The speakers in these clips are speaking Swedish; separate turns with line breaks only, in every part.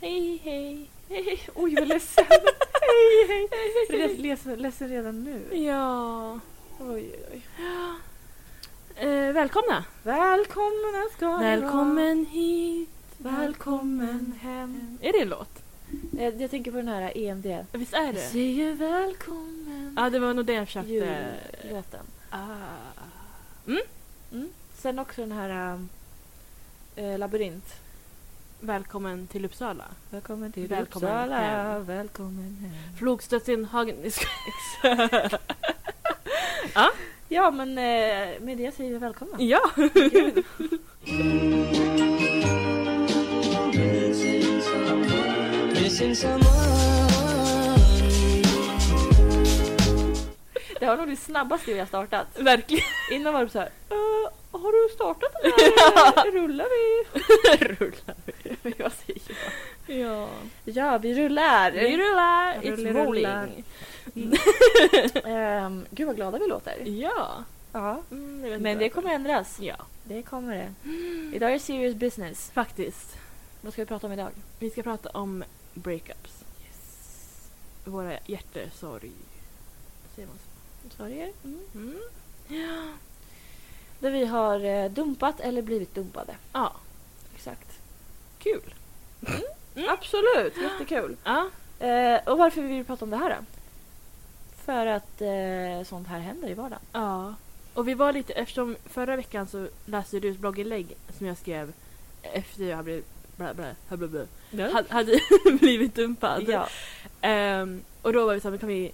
Hej hej! hej. Oj vad ledsen!
hej, hej.
Red, ledsen, ledsen redan nu.
Ja.
Oj, oj, oj.
Eh, välkomna.
Välkomna ska ni vara.
Välkommen hit.
Välkommen hem.
Är det en låt?
Eh, Jag, jag tänker på den här E EMD.
Visst är
Jag
det?
säger välkommen.
Ja, det var nog det jag försökte...
Jullåten.
Ah.
Sen också den här äh, Labyrint.
Välkommen till Uppsala.
Välkommen till
Välkommen
Uppsala.
hem.
Välkommen hem.
Flogstadsinhagen... Nej, skoja.
Ja men eh, med det säger vi välkomna.
Ja!
Kul.
Missing someone.
Det här var nog det snabbaste vi har startat.
Verkligen.
Innan var det så här. "Eh, har du startat den här? rullar vi?
Rullar.
Men jag säger ja.
Ja.
Ja, vi rullar.
Vi rullar. It's
Rullar, rullar.
rolling.
Ehm, gud vad glada vi låter.
Ja.
Ja.
Mm, jag vet
Men
inte.
det kommer ändras.
Ja,
Det kommer det. Idag är det serious business.
faktiskt.
Vad ska vi prata om idag?
Vi ska prata om breakups. Våra hjärtesorg... Säger man så?
Sorger. Mm.
Mm.
Där vi har eh, dumpat eller blivit dumpade.
Ja,
Exakt.
kul.
Mm.
Mm.
Absolut, jättekul.
Ja,
Eh, och varför vi vill prata om det här då? För att eh, sånt här händer i vardagen.
ja. Och vi var lite, eftersom förra veckan så läste du ett blogginlägg som jag skrev efter jag hade blivit, bla, bla, bla, bla, bla, hade, hade blivit dumpad.
Mm. Ja,
Ehm, och då var vi så här, men kan vi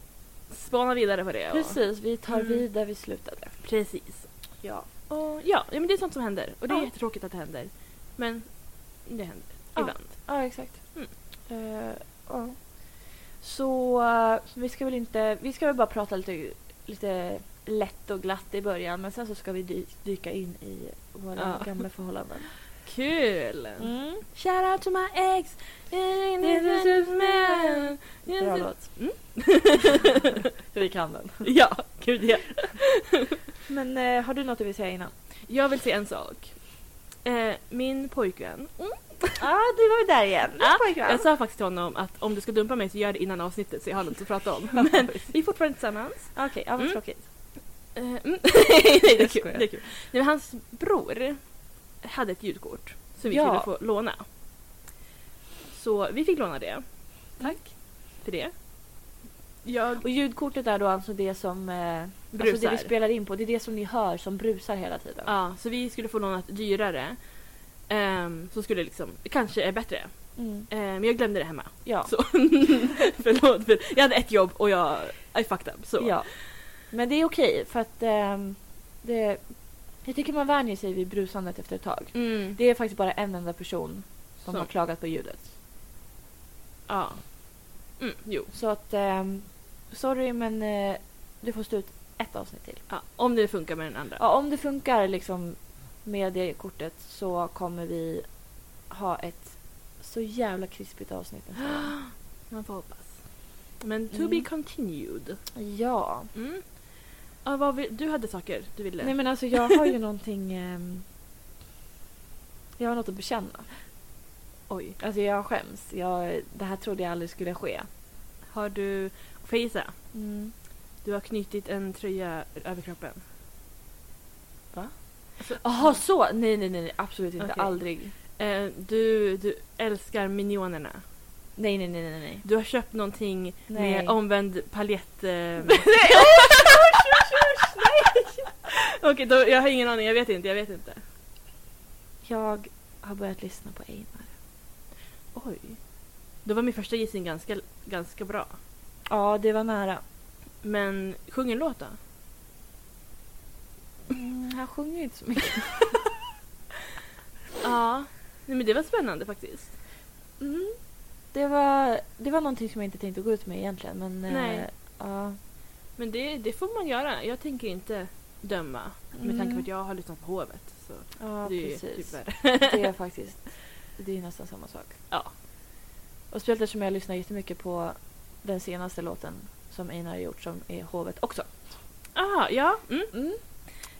spana vidare på det? Och,
precis. Vi tar
Mm.
vid där vi slutade.
Precis.
Ja.
Och ja, ja, men det är sånt som händer. Och det är
Ja.
jättetråkigt att det händer. Men det händer
Ja.
ibland.
Ja, exakt.
Mm.
Eh, ja. Så eh, så vi ska väl inte... Vi ska väl bara prata lite, lite lätt och glatt i början men sen så ska vi dy, dyka in i våra
Ja.
gamla förhållanden.
Kul!
Mm.
Shout out to my ex!
Bra låt.
Mm.
vi kan den.
Ja, gud ja.
Men eh, har du något du vill säga innan?
Jag vill säga en sak. Eh, min pojkvän.
Ja, ah, du var ju där igen.
Ja, Jag sa faktiskt till honom att om du ska dumpa mig så gör det innan avsnittet så jag har något att prata om. Men vi är fortfarande tillsammans.
Okej, ja, vad
Mm.
tråkigt.
Eh, mm. Nej, det är
Jag
kul.
skojar.
Det är kul. Nej, men hans bror hade ett ljudkort som vi
Ja.
skulle få låna. Så vi fick låna det. Tack för det. Jag
Och ljudkortet är då alltså det som... Eh, alltså
brusar.
det vi spelar in på. Det är det som ni hör som brusar hela tiden.
ja, så vi skulle få låna ett dyrare. Um, som skulle liksom, kanske är bättre.
Mm.
Eh, men jag glömde det hemma.
Ja.
Så, förlåt, för jag hade ett jobb och jag... I fucked up. Så.
Ja. Men det är okej för att ehm, det, jag tycker man vänjer sig vid brusandet efter ett tag.
Mm.
Det är faktiskt bara en enda person som
Så.
har klagat på ljudet.
Ja. Mm, jo.
Så att ehm, sorry men eh, du får stå ut ett avsnitt till.
Ja, om det funkar med den andra.
Ja, om det funkar liksom med det kortet så kommer vi ha ett så jävla krispigt avsnitt nästa gång.
Man får hoppas. Men to
Mm.
be continued.
Ja.
Mm. Ja, vad vi, du hade saker du ville...
Nej men alltså jag har ju någonting... ehm, jag har något att bekänna.
Oj.
Alltså jag skäms. Jag, det här trodde jag aldrig skulle ske.
Har du... Får jag gissa?
Mm.
Du har knutit en tröja över kroppen.
Jaha, så? Nej, nej, nej, absolut inte.
Okej.
Aldrig.
Eh, du, du älskar minionerna.
Nej, nej, nej, nej, nej.
Du har köpt någonting
Nej.
med omvänd paljett... Eh... Okej, då, jag har ingen aning. Jag vet inte. Jag vet inte.
Jag har börjat lyssna på Einar.
Oj. Då var min första gissning ganska, ganska bra.
Ja, det var nära.
Men sjung en låt då.
Mm, han sjunger ju inte så mycket.
Ja. Nej, men det var spännande faktiskt.
Mm. Det, var, det var någonting som jag inte tänkte gå ut med egentligen, men... eh,
Nej.
ja.
Men det, det får man göra. Jag tänker inte döma. Med tanke på att jag har lyssnat på Hovet. Så
Mm. Ja,
det är ju
precis.
typ värre.
det är faktiskt... Det är nästan samma sak.
Ja.
Och speciellt eftersom jag lyssnar jättemycket på den senaste låten som Einar har gjort, som är Hovet också.
Ah, ja. Mm.
Mm.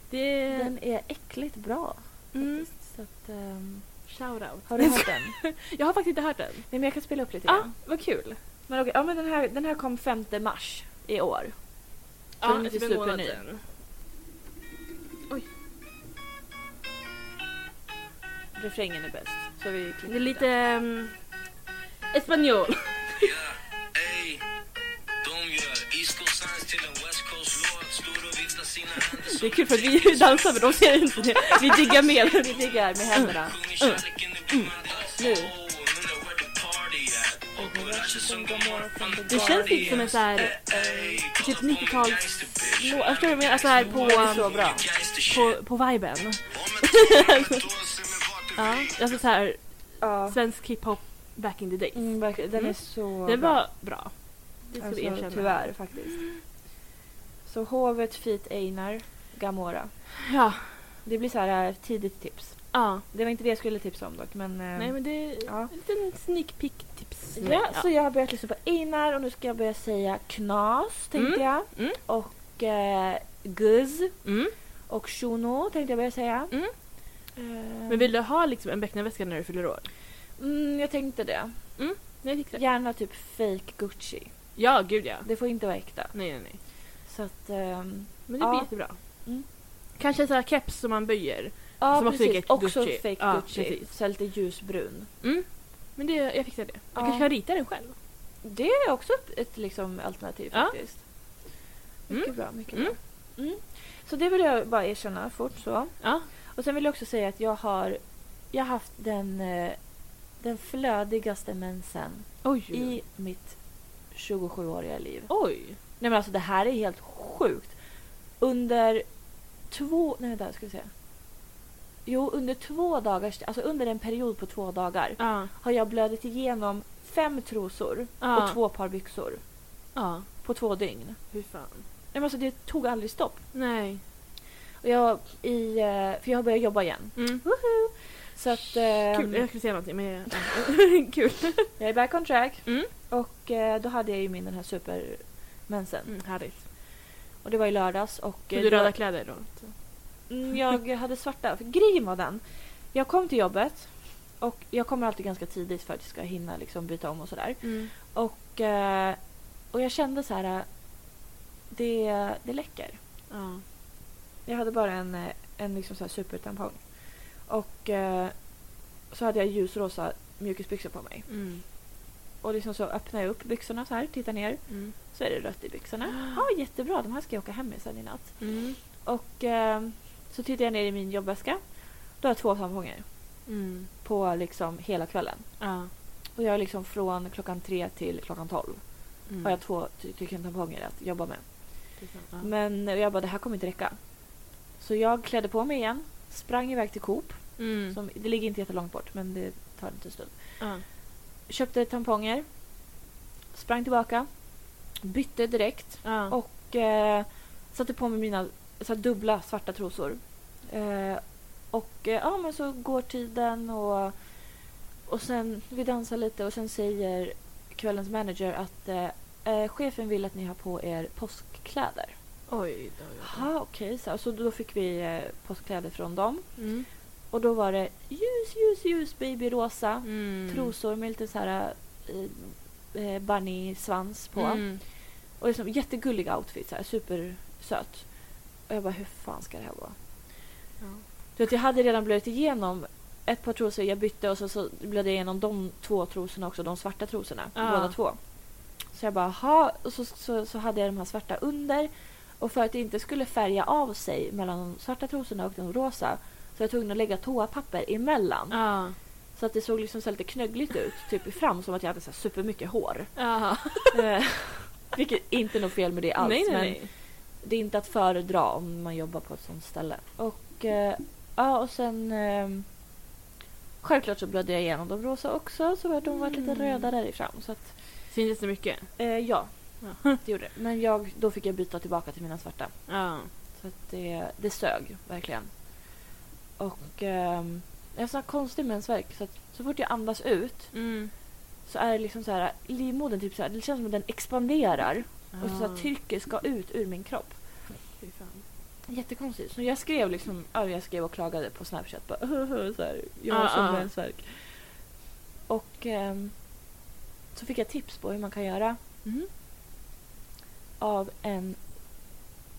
Det,
Den är äckligt bra.
mm.
faktiskt. Så att, ehm,
Shoutout.
Har du hört den?
Jag har faktiskt inte hört den. Ah,
Nej men jag kan spela upp lite
Ja.
grann. Vad kul. Men okej, ja men den här, den här kom 5 mars i år.
Ja,
den är
typ
inte
en månad
superny.
sedan.
Refrängen är bäst. Så vi klipper
Det är
den.
lite... Um, Espanjol.
Ey, de gör East Coast Science till en West Coast-låt. Står och viftar sina händer
Det
som
är kul för att vi dansar men de ser inte det. Vi diggar med, vi diggar med
Mm.
händerna.
sjunger kärleken i byggnadens
Nu.
soul. Undrar where the party at. Och hon lär sig som Gomorra from the
Det känns lite som en så här...
Ey,
Typ
kolla på min
90-tals-
gangsterbitch.
lå- Jag förstår vad du menar, så här på,
Det är så bra.
Gangstershit.
på, på viben.
Om ett år, om ett år, se mig vart du
Ja,
vill.
alltså så här
Ja.
svensk hiphop back in the days.
Mm, verkligen. Den är
Mm.
så
Den
bra.
var bra. Det ska vi
Alltså,
erkänna.
tyvärr faktiskt. Så hovet, feat Einar, Gamora.
Ja.
Det blir så här eh, tidigt tips.
ja.
Det var inte det jag skulle tipsa om dock men... eh,
Nej men det...
ja.
En liten sneak peek tips.
Ja, alltså- så jag har börjat lyssna på Einar och nu ska jag börja säga Knas tänkte
Mm,
jag.
mm.
Och eh, Guz
Mm.
och Shuno tänkte jag börja säga.
Mm.
Eh,
Men vill du ha liksom en becknarväska när du fyller år?
mm, jag tänkte det.
Nej, exakt. Ja.
Gärna typ fake Gucci.
ja, gud ja.
Det får inte vara äkta.
Nej, nej, nej.
Så att... ehm,
Men det
Ja.
blir jättebra.
Mm.
Kanske en sån här keps som man böjer.
ja
Som också
precis,
är
också
Gucci.
fake
Ja,
Gucci.
precis.
Så här lite ljusbrun.
Mm. Men det, jag fixar det. Jag
Ja.
kanske kan rita den själv.
Det är också ett, ett liksom alternativ
Ja.
faktiskt. Mycket
Mm.
bra, mycket
Mm.
bra. Mm. Så det vill jag bara erkänna fort så.
Ja.
Och sen vill jag också säga att jag har, jag har haft den, eh, den flödigaste mensen
Oj.
i mitt 27-åriga liv.
Oj.
Nej men alltså det här är helt sjukt. Under två, nej vänta ska vi se. Jo, under två dagars, alltså under en period på två dagar
Ja.
har jag blödit igenom fem trosor
Ja.
och två par byxor
Ja.
på två dygn. Nej,
Hur fan.
men alltså, det tog aldrig stopp.
Nej.
Och jag, i, eh, för jag har börjat jobba igen.
Mm.
Så att, ehm,
Kul. Jag skulle säga någonting men jag... Kul.
jag är back on track.
Mm.
Och eh, då hade jag ju min den här supermensen.
Mm, härligt.
Och det var i lördags. Och,
Får
eh,
du
då-
röda kläder då?
Mm, jag hade svarta. För grejen var den. Jag kom till jobbet. Och jag kommer alltid ganska tidigt för att jag ska hinna liksom byta om och sådär.
Mm.
Och, eh, och jag kände så här. eh, Det, det läcker.
Ja.
Jag hade bara en, eh, en liksom så här supertampong. Och eh, så hade jag ljusrosa mjukisbyxor på mig.
Mm.
Och liksom så öppnar jag upp byxorna så här, tittar ner.
Mm.
Så är det rött i byxorna. Ja, jättebra. De här ska jag åka hem med sen i natt.
Mm.
Och eh, så tittar jag ner i min jobbväska. Då har jag två tamponger
Mm.
på liksom hela kvällen.
Ja.
Och jag är liksom från klockan tre till klockan tolv.
Mm.
Har jag Mm. två ty- stycken tamponger att jobba med.
Det är sant, ja.
Men jag bara, det här kommer inte räcka. Så jag klädde på mig igen. Sprang iväg till Coop.
Mm.
Som, det ligger inte jättelångt bort, men det tar inte en stund.
Ja.
Köpte tamponger. Sprang tillbaka. Bytte direkt.
Ja.
Och eh, satte på mig mina så här, dubbla svarta trosor. Eh, och eh, ja, men så går tiden och, och sen vi dansar lite och sen säger kvällens manager att eh, eh, chefen vill att ni har på er påskkläder.
Oj, då, då, då.
Jaha, okej. Så, så då fick vi eh, påskkläder från dem.
Mm.
Och då var det ljus, ljus, ljus babyrosa.
Mm.
Trosor med lite så här eh, eh, bunny-svans på.
Mm.
Och liksom jättegullig outfit, så här, supersöt. Och jag bara, hur fan ska det här vara?
Ja.
Du vet, jag hade redan blöjt igenom ett par trosor jag bytte och så, så blödde jag igenom de två trosorna också, de svarta trosorna.
Ja.
Båda två. Så jag bara, ha Och så, så, så hade jag de här svarta under. Och för att det inte skulle färga av sig mellan de svarta trosorna och de rosa så var jag tvungen att lägga toapapper emellan.
Ja.
Så att det såg liksom så här lite knöggligt ut, typ fram som att jag hade så här supermycket hår.
Ja.
Eh, Vilket inte är något fel med det alls.
nej, nej,
men
nej.
det är inte att föredra om man jobbar på ett sånt ställe. Och eh, ja, och sen... Eh, självklart så blödde jag igenom de rosa också så att de var lite
Mm.
röda därifrån. Så att,
Syns det så mycket?
eh, ja,
Ja.
det gjorde det. Men jag, då fick jag byta tillbaka till mina svarta.
ja.
Så att det, det sög verkligen. Och... Eh, jag har sån här konstig mensvärk så att så fort jag andas ut
Mm.
så är det liksom så här livmodern typ så här, det Ah. känns som att den expanderar och så här, trycker ska ut ur min kropp.
Fy fan.
Jättekonstigt. Så jag skrev liksom, ja, jag skrev och klagade på Snapchat. Bara, så här, jag har
Ah, ah.
solbränsvärk. Och ehm, så fick jag tips på hur man kan göra
Mm.
av en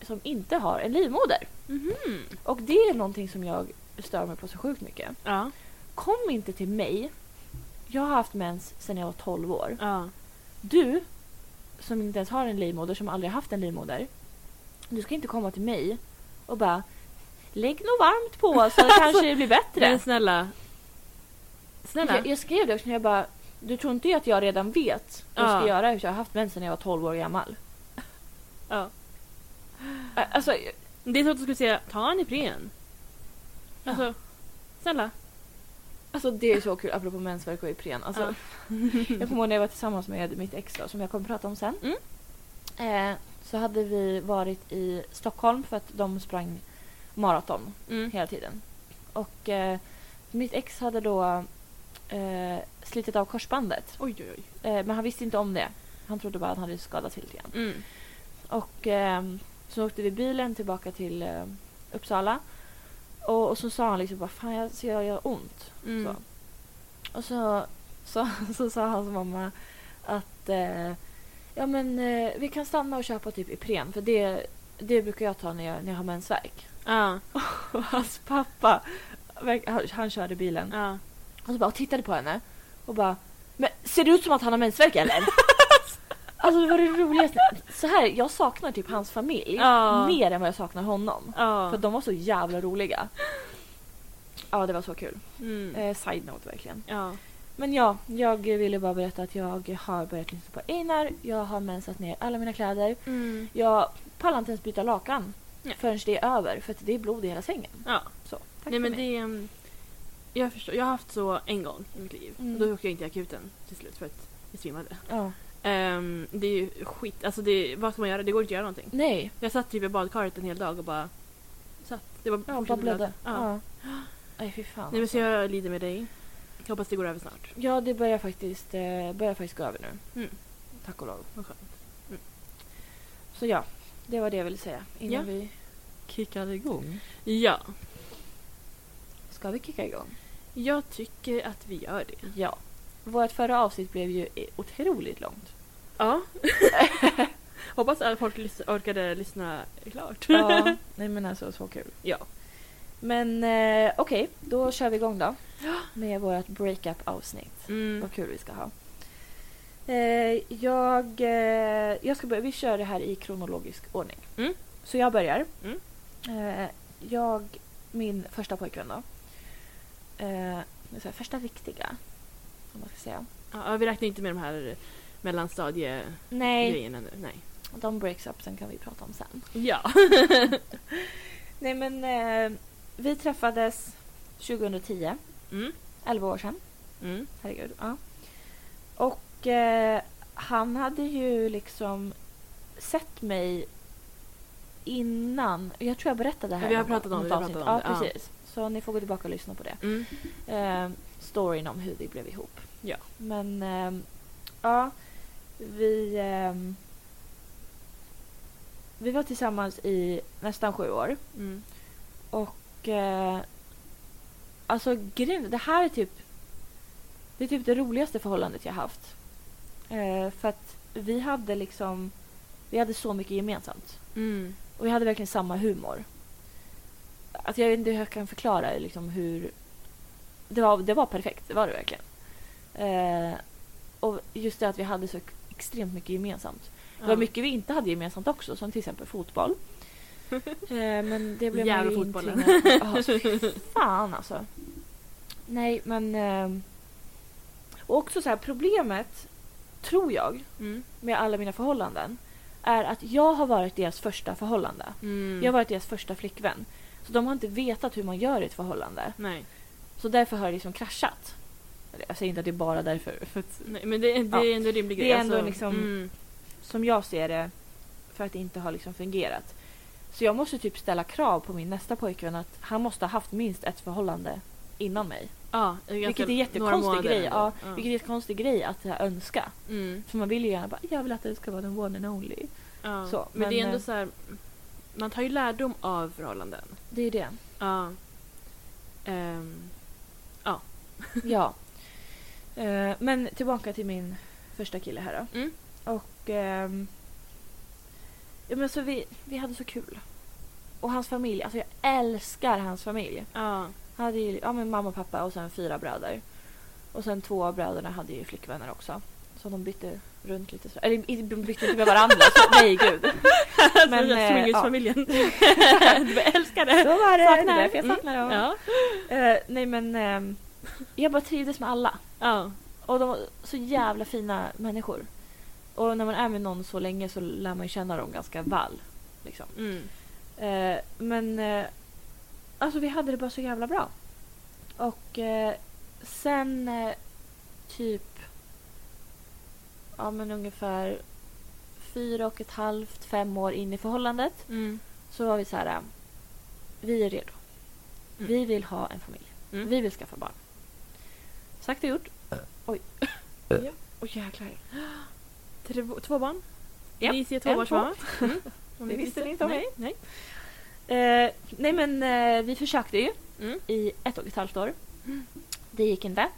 som inte har en livmoder.
Mhm.
Och det är någonting som jag stör mig på så sjukt mycket.
Ja.
Kom inte till mig. Jag har haft mens sedan jag var 12 år.
Ja.
Du, som inte ens har en livmoder, som aldrig har haft en livmoder. Du ska inte komma till mig och bara Lägg något varmt på så kanske det blir bättre.
Men snälla. Alltså, Snälla.
Jag, jag skrev det också när jag bara Du tror inte att jag redan vet vad jag ska
Ja.
göra eftersom jag har haft mens sedan jag var 12 år gammal?
Ja.
Ä- Alltså,
Det är så att du skulle säga ta en Ipren. Alltså, snälla.
alltså det är så kul apropå mensvärk och Ipren. Alltså,
Ja.
Jag kommer ihåg när jag var tillsammans med mitt ex då, som jag kommer prata om sen.
Mm.
Eh, så hade vi varit i Stockholm för att de sprang maraton
Mm.
hela tiden. Och eh, mitt ex hade då eh, slitit av korsbandet.
Oj, oj, oj.
Eh, men han visste inte om det. Han trodde bara att han hade skadat sig lite grann.
Mm.
Och eh, så åkte vi bilen tillbaka till eh, Uppsala. Och, och så sa han liksom bara fan jag, så jag gör ont.
Mm.
Så. Och så, så, så sa hans mamma att eh, ja, men, eh, vi kan stanna och köpa typ Ipren för det, det brukar jag ta när jag, när jag har mensvärk.
Ja,
Och hans pappa, verk- han, han körde bilen
ja.
och så bara och tittade på henne och bara men ser det ut som att han har mensvärk eller? alltså det var det roligaste. Så här, jag saknar typ hans familj
Ja.
mer än vad jag saknar honom. För
ja.
de var så jävla roliga. Ja, det var så kul.
Mm.
Eh, side note verkligen.
Ja.
Men ja, jag ville bara berätta att jag har börjat lyssna på Einar. Jag har mensat ner alla mina kläder.
Mm.
Jag pallar inte ens byta lakan
Nej.
förrän det är över för att det är blod i hela sängen.
ja.
Så, tack
Nej
för
men
mig.
det... ehm, Jag förstår. Jag har haft så en gång i mitt liv.
Mm.
Då åkte jag in till akuten till slut för att jag svimmade.
Ja.
Ehm, det är ju skit. Alltså det, vad ska man göra? Det går inte att göra någonting.
Nej,
Jag satt typ i badkaret en hel dag och bara... Satt. Det var
jag bara
fortsatte blöda.
blödde.
Ja.
Ja. Nej, fy fan.
Nej men
alltså.
så jag lider med dig. Jag hoppas det går över snart.
Ja, det börjar faktiskt, eh, börjar faktiskt gå över nu.
Mm.
Tack och lov.
Vad skönt. Mm.
Så ja, det var det jag ville säga innan
Ja.
vi kickar igång.
Ja.
Ska vi kicka igång?
Jag tycker att vi gör det.
Ja. Vårt förra avsnitt blev ju eh, otroligt långt.
Ja. Hoppas att folk lys- orkade lyssna klart.
Ja, nej men alltså så kul.
Ja.
Men eh, okej, då kör vi igång då. Med vårt breakup avsnitt.
Mm.
Vad kul vi ska ha. Eh, jag, eh, jag ska börja, vi kör det här i kronologisk ordning.
Mm.
Så jag börjar.
Mm.
Eh, jag, min första pojkvän då. Eh, det är så här, första riktiga. Om man ska säga.
Ja, vi räknar inte med de här mellanstadiegrejerna
Nej,
nu. Nej.
de breaks up sen kan vi prata om sen.
Ja.
Nej men eh, vi träffades 2010,
Mm.
11 år sedan.
Mm.
Herregud. Ja. Och eh, han hade ju liksom sett mig innan. Jag tror jag berättade det här.
Ja, vi har
i någon-
pratat om
något
det, vi har
avsnitt.
pratat om
ja,
det, ja.
precis. Så ni får gå tillbaka och lyssna på det.
Mm.
Eh, storyn om hur vi blev ihop.
Ja.
Men ehm, ja, vi... ehm, vi var tillsammans i nästan sju år.
Mm.
Och... Eh, alltså grejen, det här är typ... Det är typ det roligaste förhållandet jag haft. Eh, för att vi hade liksom... Vi hade så mycket gemensamt.
Mm.
Och vi hade verkligen samma humor. Alltså jag vet inte hur jag kan förklara liksom hur... Det var, det var perfekt, det var det verkligen. Eh, och just det att vi hade så extremt mycket gemensamt. Det var
Ja.
mycket vi inte hade gemensamt också, som till exempel fotboll. Eh, men det blev man
Jävla
ju
fotbollen.
intvingad- Ja, så fy fan alltså. Nej, men... ehm, och också så här, problemet, tror jag,
Mm.
med alla mina förhållanden är att jag har varit deras första förhållande.
Mm.
Jag har varit deras första flickvän. Så de har inte vetat hur man gör i ett förhållande.
Nej.
Så därför har det liksom kraschat. Eller, Jag säger inte att det är bara därför. För att,
Nej, men det, det
Ja.
är ändå en rimlig
Det är
grej.
ändå liksom-
mm.
som jag ser det, för att det inte har liksom fungerat. Så jag måste typ ställa krav på min nästa pojkvän att han måste ha haft minst ett förhållande innan mig.
ja, det ganska-
Vilket är
några månader
jättekonstig grej.
ändå.
Ja, vilket är jättekonstig grej att så här, önska.
Mm.
För man vill ju gärna bara, jag vill att det ska vara den one and only.
Ja.
Så,
men, det är
men,
ändå
eh,
så här... man tar ju lärdom av förhållanden.
Det är ju det.
Ja. Ehm,
Ja. Eh, men tillbaka till min första kille här då.
Mm.
Och... ehm, ja, men så vi, vi hade så kul. Och hans familj. Alltså jag älskar hans familj.
ja.
Han hade ju ja, men mamma och pappa och sen fyra bröder. Och sen två av bröderna hade ju flickvänner också. Så de bytte runt lite så. Eller i- de bytte inte med varandra. Så, nej gud.
Men,
eh,
swingersfamiljen. Jag älskar det.
Så var det.
Saknar.
Det är därför jag
Mm.
saknar dem.
Ja.
Eh, nej men... ehm, jag bara trivdes med alla.
ja.
Och de var så jävla fina människor. Och när man är med någon så länge så lär man ju känna dem ganska väl. Liksom.
Mm.
Eh, men eh, alltså vi hade det bara så jävla bra. Och eh, sen eh, typ ja men ungefär fyra och ett halvt, fem år in i förhållandet
Mm.
så var vi så här. eh, Vi är redo.
Mm.
Vi vill ha en familj.
Mm.
Vi vill skaffa barn. Sagt och gjort. Oj.
Ja.
Åh jäklar.
Tre, två barn?
Ja.
Ni ser
En,
tvåbarnsmamma? Mm.
Det visste ni inte om
Nej.
mig.
Nej.
Eh, nej men eh, vi försökte ju
Mm.
i ett och ett halvt år. Det gick inte.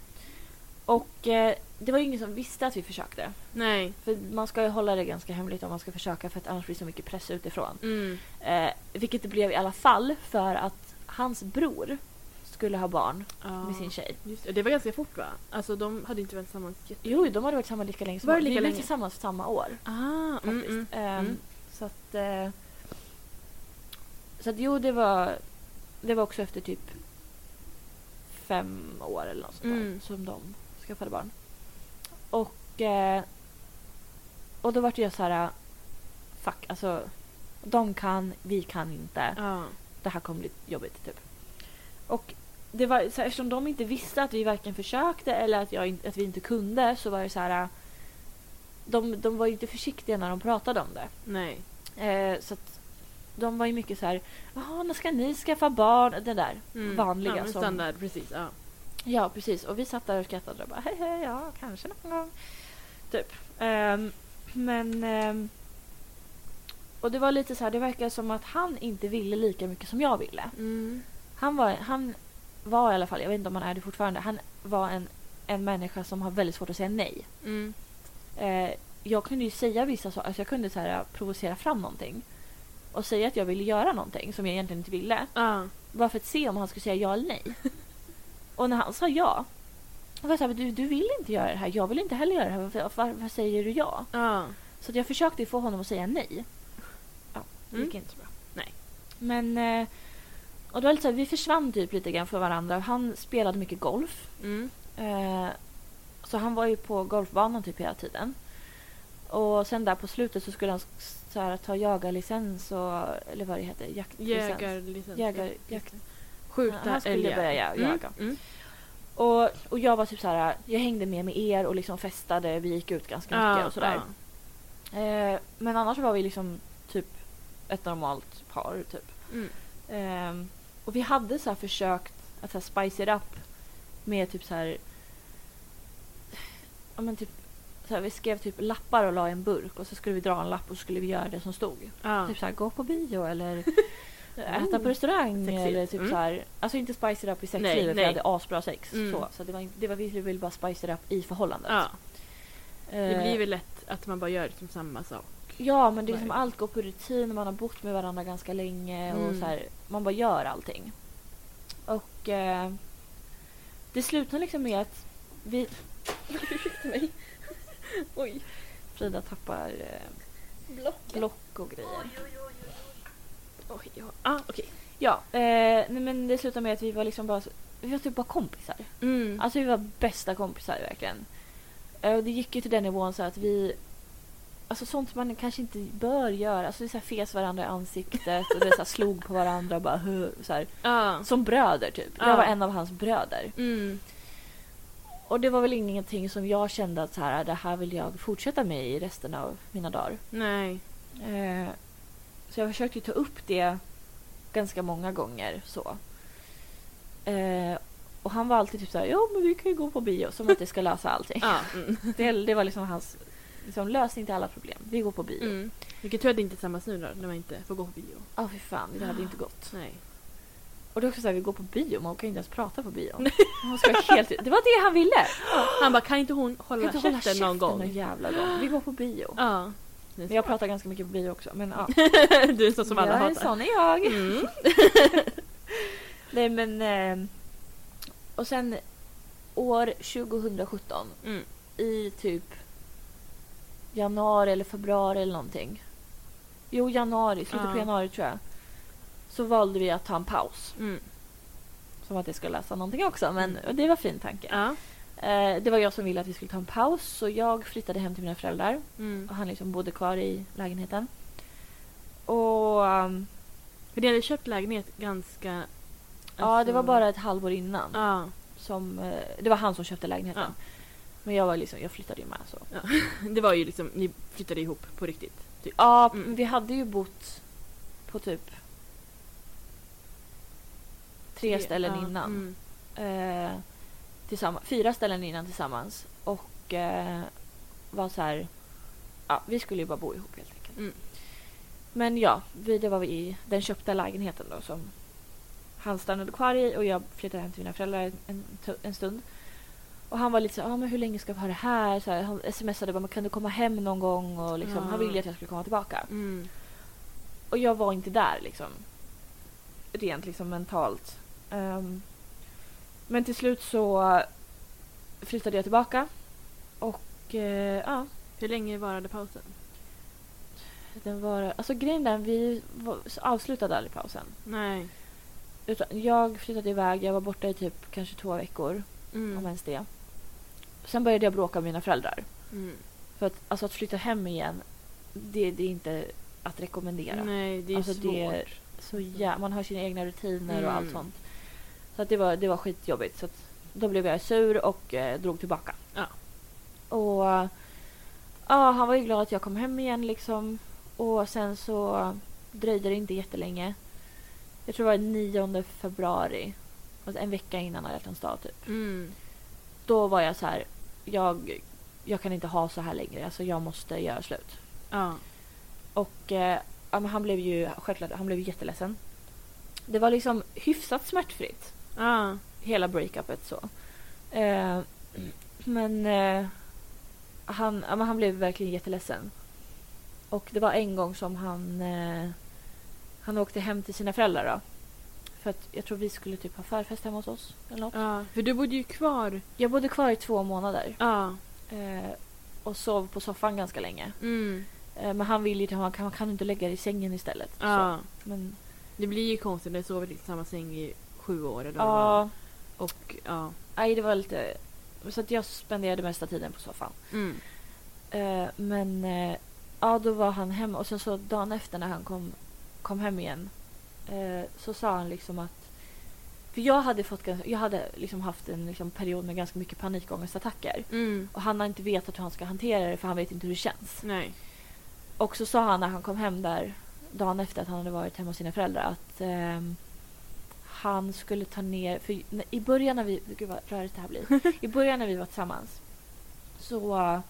Och eh, det var ju ingen som visste att vi försökte.
Nej.
För man ska ju hålla det ganska hemligt om man ska försöka för att annars blir det så mycket press utifrån.
Mm.
Eh, vilket det blev i alla fall för att hans bror skulle ha barn
Ja.
med sin tjej.
Just det. det var ganska fort va? Alltså de hade inte varit tillsammans jätte...
Jo, de hade varit tillsammans lika länge som
Var det
oss.
lika
Vi blev
länge?
tillsammans samma år.
Ah, mm,
faktiskt.
mm.
Ehm,
Mm.
Så att... eh, så att jo, det var, det var också efter typ fem år eller något sånt där,
Mm.
som de skaffade barn. Och, eh, och då vart jag så här... eh, Fuck, alltså. De kan, vi kan inte.
Ja.
Det här kommer bli jobbigt, typ. Och det var, så här, eftersom de inte visste att vi varken försökte eller att, jag, in- att vi inte kunde så var det så här... De, de var ju inte försiktiga när de pratade om det.
Nej.
Eh, så att de var ju mycket så här... Jaha, när ska ni skaffa barn? Det där
Mm.
vanliga.
ja, men
som,
standard, precis. Ja.
Ja, precis. Och vi satt där och skrattade och bara hej, hej, ja, kanske någon gång. Typ. Ehm, men... ehm, och det var lite så här, det verkar som att han inte ville lika mycket som jag ville.
Mm.
Han var, han var i alla fall, jag vet inte om han är det fortfarande, han var en, en människa som har väldigt svårt att säga nej.
Mm.
Eh, jag kunde ju säga vissa saker, alltså jag kunde så här, provocera fram någonting. Och säga att jag ville göra någonting som jag egentligen inte ville.
Ja.
Bara för att se om han skulle säga ja eller nej. Och när han sa ja. Då var jag såhär, du, du vill inte göra det här, jag vill inte heller göra det här, varför, varför säger du ja?
Ja.
Så att jag försökte ju få honom att säga nej. Ja, det gick
Mm.
inte så bra.
Nej.
Men... eh, Och då var det lite så här, vi försvann typ lite grann för varandra. Han spelade mycket golf.
Mm.
eh, Så han var ju på golfbanan typ hela tiden. Och sen där på slutet så skulle han s- så här, ta jagarlicens och... Eller vad det heter? Jaktlicens.
Jägarlicens.
Jägar,
Just
jakt.
det. Skjuta
Han skulle
älgar.
börja ja- jaga.
Mm. Mm.
Och, och jag var typ så här, jag hängde med med er och liksom festade. Vi gick ut ganska mycket
Ja,
och sådär.
ja.
Eh, men annars var vi liksom typ ett normalt par. typ.
Mm.
Ehm, och vi hade så här försökt att så här spice it up med typ så här... Ja, men typ, så här vi skrev typ lappar och la i en burk och så skulle vi dra en lapp och så skulle vi göra det som stod.
Ja. Oh,
Typ så här, gå på bio eller äta på restaurang.
Sexigt.
Eller typ
Mm.
så här, alltså inte spice it up i sexlivet
Nej,
för
nej.
jag hade asbra sex.
Mm.
Så, så det var, inte- det var, vi ville bara spice it up i förhållandet.
ja. Det
Eh,
blir väl lätt att man bara gör liksom samma sak.
Ja, men det är
Nej.
liksom allt går på rutin. Man har bott med varandra ganska länge. och
Mm.
så här, Man bara gör allting. Och eh, det slutar liksom med att vi... Ursäkta mig. Oj. Frida tappar eh, block och grejer.
Oj, ja. Ah, okej.
Ja, eh, nej, men det slutar med att vi var liksom bara... så- Vi var typ bara kompisar.
Mm.
Alltså vi var bästa kompisar verkligen. Eh, Och det gick ju till den nivån så att vi... Alltså sånt man kanske inte bör göra. Alltså vi så här fes varandra i ansiktet och det så här slog på varandra och bara "Huh", så här.
Ja.
Som bröder typ.
Ja.
Jag var en av hans bröder.
Mm.
Och det var väl ingenting som jag kände att så här, "Ah, det här vill jag fortsätta med i resten av mina dagar.
Nej.
Eh, Så jag försökte ju ta upp det ganska många gånger. så. Eh, Och han var alltid typ så här, ja men vi kan ju gå på bio. Som att det ska lösa allting.
Ja. Mm.
Det, det var liksom hans liksom, lösning till alla problem. Vi går på bio.
Mm. Vilken tur att det inte är tillsammans nu då, när man inte får gå på bio.
Ja, Ah, fy fan. Det hade inte gått.
Nej. Mm.
Och det är också så här, vi går på bio, man kan inte ens prata på bio. Man ska vara helt... Det var det han ville!
Han bara, kan inte hon
Kan
hålla,
inte hålla
käften någon gång?
någon jävla gång. Vi går på bio.
Ja.
Men jag pratar ganska mycket på bio också. Men ja.
du är en sån som alla
jag är
hatar.
sån är jag.
Mm.
Nej men... Eh, och sen år 2017
Mm.
i typ januari eller februari eller någonting. Jo, januari. Slutet på
Ja.
januari tror jag. Så valde vi att ta en paus.
Mm.
Som att jag skulle läsa någonting också. Men
Mm.
och det var fin tanke.
Ja.
Eh, det var jag som ville att vi skulle ta en paus. Så jag flyttade hem till mina föräldrar.
Mm.
Och han liksom bodde kvar i lägenheten. Och... ehm,
För ni hade köpt lägenhet ganska...
Ja, det
alltså-
var bara ett halvår innan.
Ja.
Som, eh, det var han som köpte lägenheten.
Ja.
Men jag var liksom, jag flyttade ju med så.
Det var ju liksom, ni flyttade ihop på riktigt. Typ.
Ja,
Mm.
men vi hade ju bott på typ tre ställen
Ja,
innan.
Mm.
Eh, tillsammans, fyra ställen innan tillsammans. Och eh, var så här, ja, vi skulle ju bara bo ihop helt enkelt.
Mm.
Men ja, vi, det var vi i den köpta lägenheten då som han stannade kvar i och jag flyttade hem till mina föräldrar en, tu- en stund. Och han var lite så här, ah, men hur länge ska vi ha det här? Så här han smsade bara, men kan du komma hem någon gång? Och liksom,
Ja.
Han ville ju att jag skulle komma tillbaka.
Mm.
Och jag var inte där liksom. Rent liksom mentalt. Ehm, men till slut så flyttade jag tillbaka. Och eh, ja,
Hur länge varade pausen?
den var... Alltså grejen där, vi var, avslutade aldrig pausen.
Nej.
Utan jag flyttade iväg, jag var borta i typ kanske två veckor,
Mm.
om ens det. Sen började jag bråka med mina föräldrar.
Mm.
För att, alltså, att flytta hem igen, det, det är inte att rekommendera.
Nej, det är
Alltså,
svårt.
det- Så jä- man har sina egna rutiner och allt
Mm.
sånt. Så att det, var, det var skitjobbigt. Så att då blev jag sur och eh, drog tillbaka.
Ja.
Och ja, han var ju glad att jag kom hem igen liksom. Och sen så dröjde det inte jättelänge. Jag tror det var den 9 februari. Alltså en vecka innan alla hjärtans dag typ.
Mm.
Då var jag så här. Jag, jag kan inte ha så här längre. Alltså jag måste göra slut.
Ja.
Och eh, ja, men han blev ju självklart han blev ju jätteledsen. Det var liksom hyfsat smärtfritt,
Ja.
hela breakupet så. Eh, men, eh, han, ja, men han blev verkligen jätteledsen. Och det var en gång som han, eh, han åkte hem till sina föräldrar. Då. För att jag tror vi skulle typ ha förfest hemma hos oss. Eller något.
ja. För du bodde ju kvar.
Jag bodde kvar i två månader
Ja.
eh, och sov på soffan ganska länge.
Mm.
Eh, men han ville ju att man kan, man kan inte lägga dig i sängen istället.
Ja.
Så, men
Det blir ju konstigt när du sover i samma säng i sju år eller vad det var.
Ja,
Och ja.
nej, det var lite... Så att jag spenderade mesta tiden på soffan.
Mm.
Eh, men eh, ja, då var han hemma och sen så dagen efter när han kom, kom hem igen eh, så sa han liksom att... För jag hade, fått, ganska- jag hade liksom haft en liksom period med ganska mycket panikångestattacker.
Mm.
Och han har inte vetat hur han ska hantera det för han vet inte hur det känns.
Nej.
Och så sa han när han kom hem där dagen efter att han hade varit hemma hos sina föräldrar att ehm, han skulle ta ner... För n- i början när vi... Gud vad rörigt det här blir. I början när vi var tillsammans så...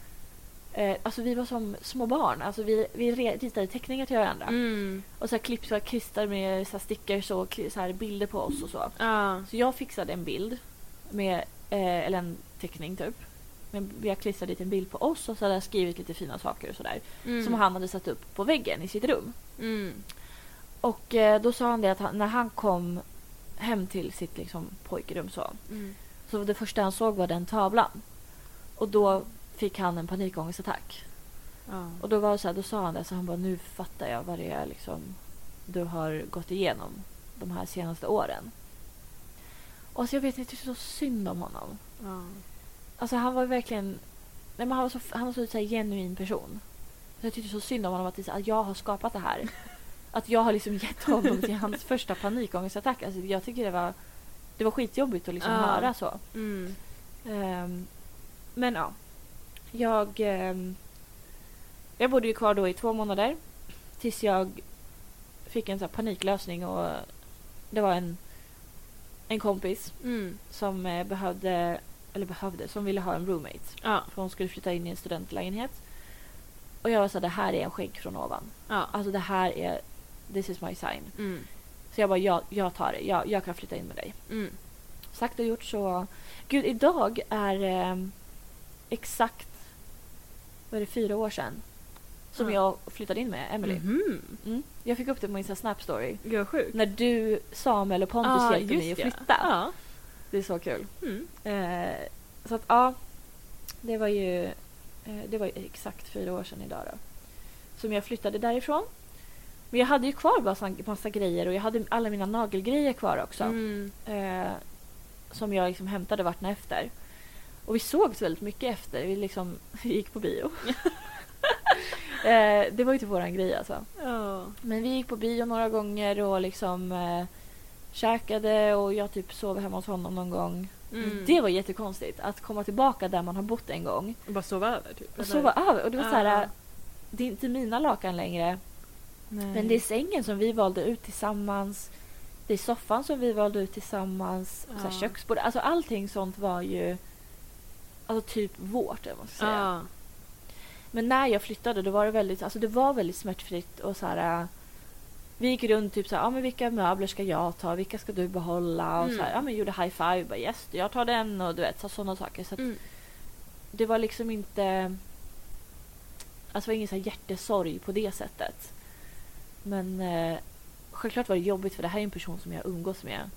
Eh, alltså vi var som små barn. Alltså vi, vi re- ritade teckningar till varandra.
Mm.
Och så här klipp, så här klistar med så här stickers och kli- så här bilder på oss och så.
Ja.
Så jag fixade en bild, med, eh, eller en teckning typ. Men jag klistrade dit en bild på oss och så hade jag skrivit lite fina saker och sådär
Mm.
som han hade satt upp på väggen i sitt rum.
Mm.
Och eh, då sa han det att han, när han kom hem till sitt liksom, pojkrum så,
Mm.
så det första han såg var den tavlan. Och då fick han en panikångestattack.
Ja.
Och då var det så här, då sa han det så han bara nu fattar jag vad det är liksom du har gått igenom de här senaste åren. Och så jag vet inte, jag tyckte så synd om honom.
Ja.
Alltså han var ju verkligen... Nej, men han var så, han var så, så här, genuin person. Så jag tyckte så synd om honom att, det är så- att jag har skapat det här. Att jag har liksom gett honom till hans första panikångestattack. Alltså, jag tycker det var, det var skitjobbigt att liksom
Ja.
höra så.
Mm.
Ehm, men ja. Jag, ehm, jag bodde ju kvar då i två månader. Tills jag fick en så här paniklösning och det var en, en kompis
Mm.
som eh, behövde, eller behövde, som ville ha en roommate.
Ja.
För hon skulle flytta in i en studentlägenhet. Och jag var så här, det här är en skänk från ovan.
Ja.
Alltså det här är, this is my sign.
Mm.
Så jag bara, jag, jag tar det. Jag, jag kan flytta in med dig.
Mm.
Sagt och gjort så... Gud, idag är eh, exakt vad är det, fyra år sedan som
Ja.
jag flyttade in med Emily.
Mhm.
Mm. Jag fick upp det på min så här snap story.
Gud vad sjukt.
När du, Samuel och Pontus
Ah,
hjälpte mig
just
att
ja.
flytta.
Ja.
Det är så kul.
Mm.
Eh, så att ja, det var ju eh, det var ju exakt fyra år sedan idag då. Som jag flyttade därifrån. Men jag hade ju kvar massa, massa grejer och jag hade alla mina nagelgrejer kvar också.
Mm.
Eh, som jag liksom hämtade vartna efter. Och vi sågs väldigt mycket efter. Vi liksom gick på bio. eh, det var ju typ våran grej alltså.
Ja.
Men vi gick på bio några gånger och liksom eh, käkade och jag typ sov hemma hos honom någon gång.
Mm.
Det var jättekonstigt att komma tillbaka där man har bott en gång
Och bara sova över typ.
och
eller? Ah.
sova över. Och det var så
Ja.
här, det är inte mina lakan längre.
Nej.
Men det är sängen som vi valde ut tillsammans. Det är soffan som vi valde ut tillsammans.
Ja.
Så här köksbord. Alltså allting sånt var ju alltså typ vårt. Jag måste säga.
Ja.
Men när jag flyttade då var det väldigt, alltså det var väldigt smärtfritt. Och så här, äh, vi gick runt typ så här, ah, men vilka möbler ska jag ta? Vilka ska du behålla? Och
Mm.
så här, ah, men gjorde high five. Bara, yes, jag tar den. Och du vet, så- sådana saker. Så att
Mm.
det var liksom inte... Alltså det var ingen så här hjärtesorg på det sättet. Men eh, självklart var det jobbigt för det här är en person som jag umgås med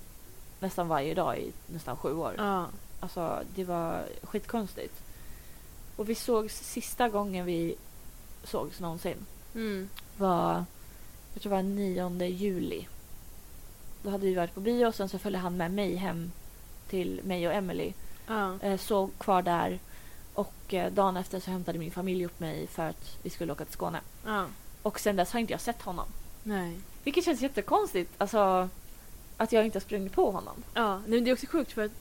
nästan varje dag i nästan sju år.
Ja.
Alltså det var skitkonstigt. Och vi sågs sista gången vi sågs någonsin
Mm.
var jag tror det var 9 juli. Då hade vi varit på bio och sen så följde han med mig hem till mig och Emily
Ja.
eh, sov kvar där. Och eh, dagen efter så hämtade min familj upp mig för att vi skulle åka till Skåne.
Ja.
Och sen dess har inte jag sett honom.
Nej.
Vilket känns jättekonstigt. Alltså, att jag inte har sprungit på honom.
Ja. Nej, men det är också sjukt för att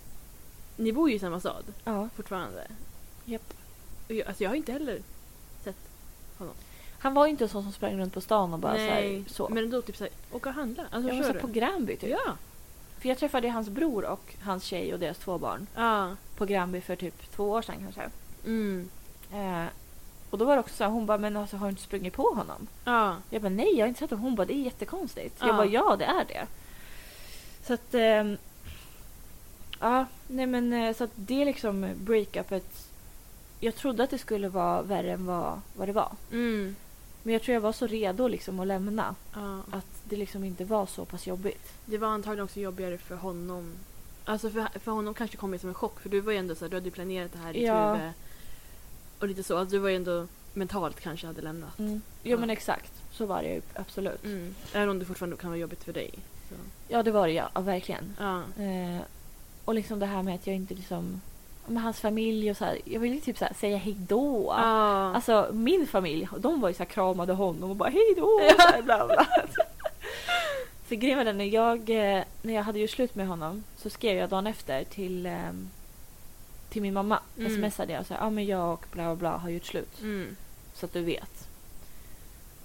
ni bor ju i samma stad
Ja.
fortfarande.
Japp.
Och jag, alltså jag har inte heller
Han var ju inte en sån som sprang runt på stan och bara så här, så.
Men ändå typ såhär, åka och handla. Alltså
jag var
förstår
så
du?
på Gränby typ.
Ja.
För jag träffade hans bror och hans tjej och deras två barn
Ja.
på Gränby för typ två år sedan kanske.
Mm.
Eh, och då var det också så här, hon bara men alltså har du inte sprungit på honom?
Ja.
Jag bara nej, jag har inte sett honom. Hon bara det är jättekonstigt.
Ja.
Jag bara ja, det är det. Så att... ehm, ja, nej men eh, så att det är liksom breakupet. Jag trodde att det skulle vara värre än vad, vad det var.
Mm.
Men jag tror jag var så redo liksom att lämna
Ja.
att det liksom inte var så pass jobbigt.
Det var antagligen också jobbigare för honom. Alltså för, för honom kanske det kom det som en chock för du var ju ändå så här, du hade ju planerat det här i ditt
Ja.
huvud. Och lite så, alltså du var ju ändå mentalt kanske hade lämnat.
Jo
Mm. Ja.
men exakt, så var det ju absolut.
Mm. Även om det fortfarande kan vara jobbigt för dig. Så.
Ja det var det ja, ja verkligen.
Ja.
Eh, och liksom det här med att jag inte liksom... Med hans familj och så här, jag ville ju typ så här, säga hejdå.
Ja.
Alltså min familj, de var ju så här, kramade honom och bara hej då! så här, bla, bla. För grejen var den, när jag, eh, när jag hade gjort slut med honom så skrev jag dagen efter till, eh, till min mamma.
Mm.
Smsade jag och sa ah, men jag och bla bla bla har gjort slut.
Mm.
Så att du vet.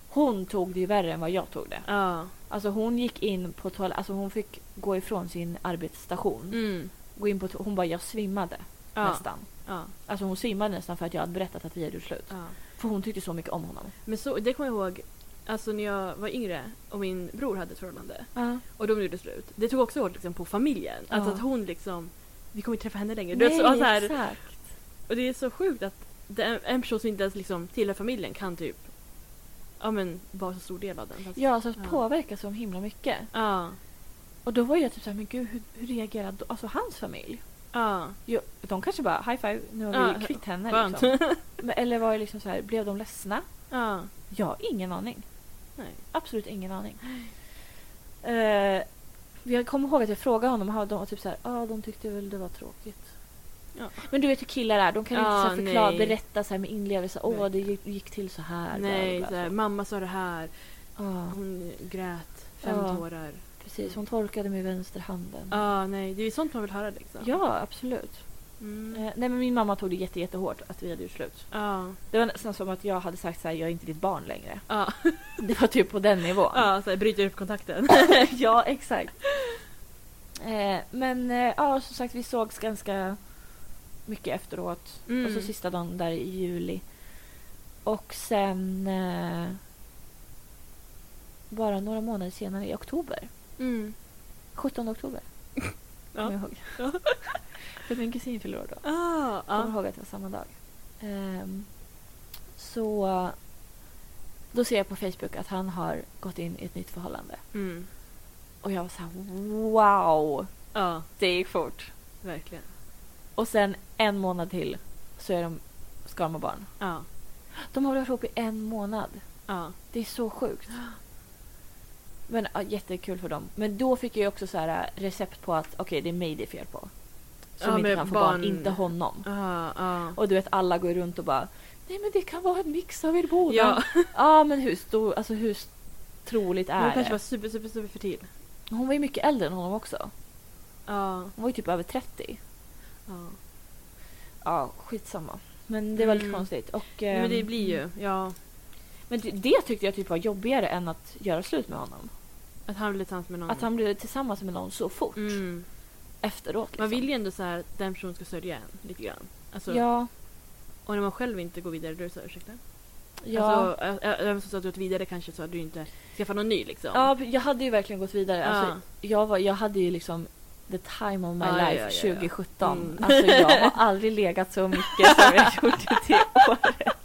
Hon tog det ju värre än vad jag tog det.
Ja.
Alltså hon gick in på toaletten, alltså hon fick gå ifrån sin arbetsstation.
Mm.
Gå in på to- hon bara jag svimmade
Ja.
nästan.
Ja.
Alltså hon svimmade nästan för att jag hade berättat att vi hade gjort slut.
ja.
För hon tyckte så mycket om honom.
Men så, det kommer jag ihåg, alltså när jag var yngre och min bror hade ett förhållande. Och de gjorde slut. Det tog också hårt liksom, på familjen. Alltså
Ja.
att hon liksom, vi kommer inte träffa henne längre. Du
Nej,
vet, så, så här,
exakt.
och det är så sjukt att det är en person som inte ens liksom, tillhör familjen kan typ ja, men, vara så stor del av den. Fast-
Ja, alltså att
Ja.
påverka så himla mycket.
Ja.
Och då var jag typ såhär, men gud hur, hur reagerar då? alltså hans familj?
Ja.
Jo, de kanske bara, high five, nu har vi
Ja,
kvitt henne.
Skönt.
Liksom. Men, eller var det liksom så här, blev de ledsna?
ja.
Jag har ingen aning.
Nej.
Absolut ingen aning. Eh, jag kommer ihåg att jag frågade honom och de var typ såhär, ja de tyckte väl det var tråkigt.
Ja.
Men du vet hur killar är, de kan
Ja,
inte så här förklara,
nej.
berätta så här med inlevelse. Åh, det
Verkligen.
gick, gick till så här. bla,
Nej,
bla,
så här,
bla."
mamma sa det här,
Ja,
hon grät fem
Ja.
tårar.
precis. Hon torkade med vänsterhanden.
Ja, nej, det är ju sånt man vill höra liksom.
Ja, absolut.
Mm.
Eh, Nej men min mamma tog det jätte, jättehårt att vi hade gjort slut.
Ja.
Det var nästan som att jag hade sagt så här, jag är inte ditt barn längre.
Ja.
Det var typ på den nivån.
Ja, så här, bryter upp kontakten.
ja, exakt. Eh, men eh, ja, som sagt vi sågs ganska mycket efteråt.
Mm.
Och så sista dagen där i juli. Och sen... Eh, bara några månader senare, i oktober.
Mm.
17 oktober.
Ja.
Kommer jag ihåg. För min kusin fyller år då.
Ah,
Kommer
ja.
ihåg att det var samma dag. Ehm, så... Då ser jag på Facebook att han har gått in i ett nytt förhållande.
Mm.
Och jag var så här, wow!
ja,
Det gick fort.
verkligen.
Och sen en månad till så är de, ska de ha barn.
Ja,
De har varit ihop i en månad.
ja.
Det är så sjukt. Men ja, jättekul för dem. Men då fick jag ju också så här äh, recept på att okej, det är mig det är fel på. Som
Ja,
inte
med
kan få barn,
barn-
inte honom.
Ah, ah.
Och du vet alla går runt och bara Nej men det kan vara en mix av er båda.
Ja,
Ja, men hur stor, alltså hur s- troligt
hon
är
kanske var
det?
super, super, super fertil.
Hon var ju mycket äldre än honom också.
Ja,
Hon var ju typ över 30.
ja.
Ja, skitsamma. Men det var lite
Mm.
konstigt. Och,
Nej, Men det
ehm,
blir ju, ja.
men det- det tyckte jag typ var jobbigare än att göra slut med honom.
Att han blir tillsammans med någon.
Att han blev tillsammans med någon så fort
mm.
efteråt.
Man
liksom.
vill ju ändå så här att den personen ska sörja en lite grann. Alltså,
Ja,
Och när man själv inte går vidare, då är det så här, ursäkta?
ja.
Alltså, ä- ä- även så att du gått vidare kanske så hade du inte skaffat någon ny liksom.
ja, jag hade ju verkligen gått vidare. Alltså,
Ja.
jag, var, jag hade ju liksom the time of my
Ja, ja,
life
ja, ja, ja.
2017.
Mm.
Alltså jag har aldrig legat så mycket som jag gjorde det året.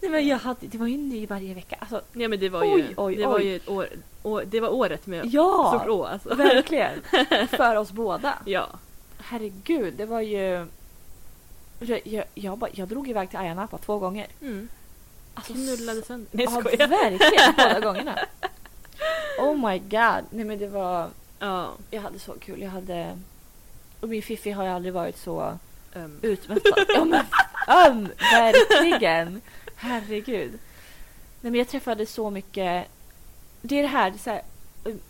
Nej, men jag hade, det var ju ny varje vecka. Alltså,
Nej men det var
Oj,
ju,
oj,
det var
oj.
ju ett år, år, det var året med stort
ja,
å alltså.
verkligen. För oss båda.
Ja.
Herregud, det var ju... Jag, jag, jag, bara, jag drog iväg till Ayia Napa två gånger.
Mm.
Alltså,
Knullade sönder. Nej
Ja,
skojar.
verkligen. Båda gångerna. Oh my god. Nej men det var...
Ja.
Jag hade så kul. Jag hade... Och min Fiffi har ju aldrig varit så
Um,
utmattad. Ja men öm! Verkligen! Herregud. Nej men jag träffade så mycket... Det är det här, det är så här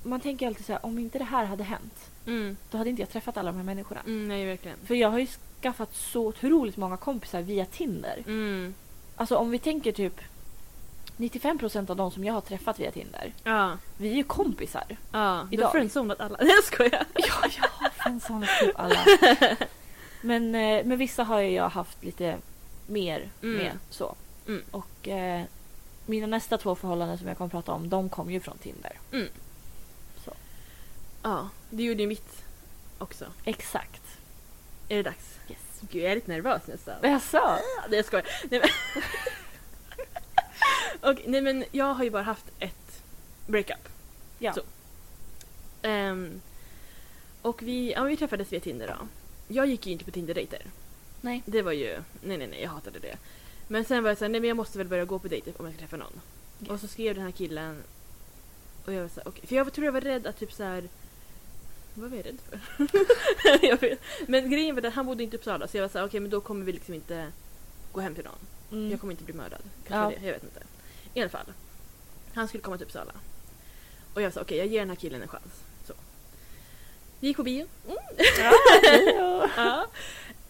man tänker alltid så här, om inte det här hade hänt,
mm.
då hade inte jag träffat alla de här människorna.
Mm, nej verkligen.
För jag har ju skaffat så otroligt många kompisar via Tinder.
Mm.
Alltså om vi tänker typ 95% av de som jag har träffat via Tinder,
Ja.
vi är ju kompisar.
Ja. Du
Idag.
har friendzonat alla. Nej jag skojar.
Ja, jag har friendzonat typ alla. Men eh, med vissa har ju jag haft lite mer
Mm.
med så.
Mm.
Och eh, mina nästa två förhållanden som jag kommer prata om, de kom ju från Tinder.
Ja. Det gjorde ju mitt också.
Exakt.
Är det dags?
Yes.
Gud jag är lite nervös nästan.
Jaså?
Nej jag skojar. Nej men. Okej, nej men jag har ju bara haft ett breakup.
Ja.
Så. Ehm, och vi, ja, vi träffades via Tinder då. Jag gick ju inte på Tinder-dejter.
Nej.
Det var ju, nej nej nej jag hatade det. Men sen var jag såhär, nej men jag måste väl börja gå på dejter om jag ska träffa någon.
Yes.
Och så skrev den här killen. Och jag var såhär, okej. För jag tror jag var rädd att typ så här. Vad var jag rädd för? jag vet. Men grejen var att han bodde inte i Uppsala så jag var såhär, okej men då kommer vi liksom inte gå hem till någon.
Mm.
Jag kommer inte bli mördad. Kanske
Ja.
var det, jag vet inte. I alla fall. Han skulle komma till Uppsala. Och jag sa okej, jag ger den här killen en chans. Så. Vi gick på bio. Mm. ja.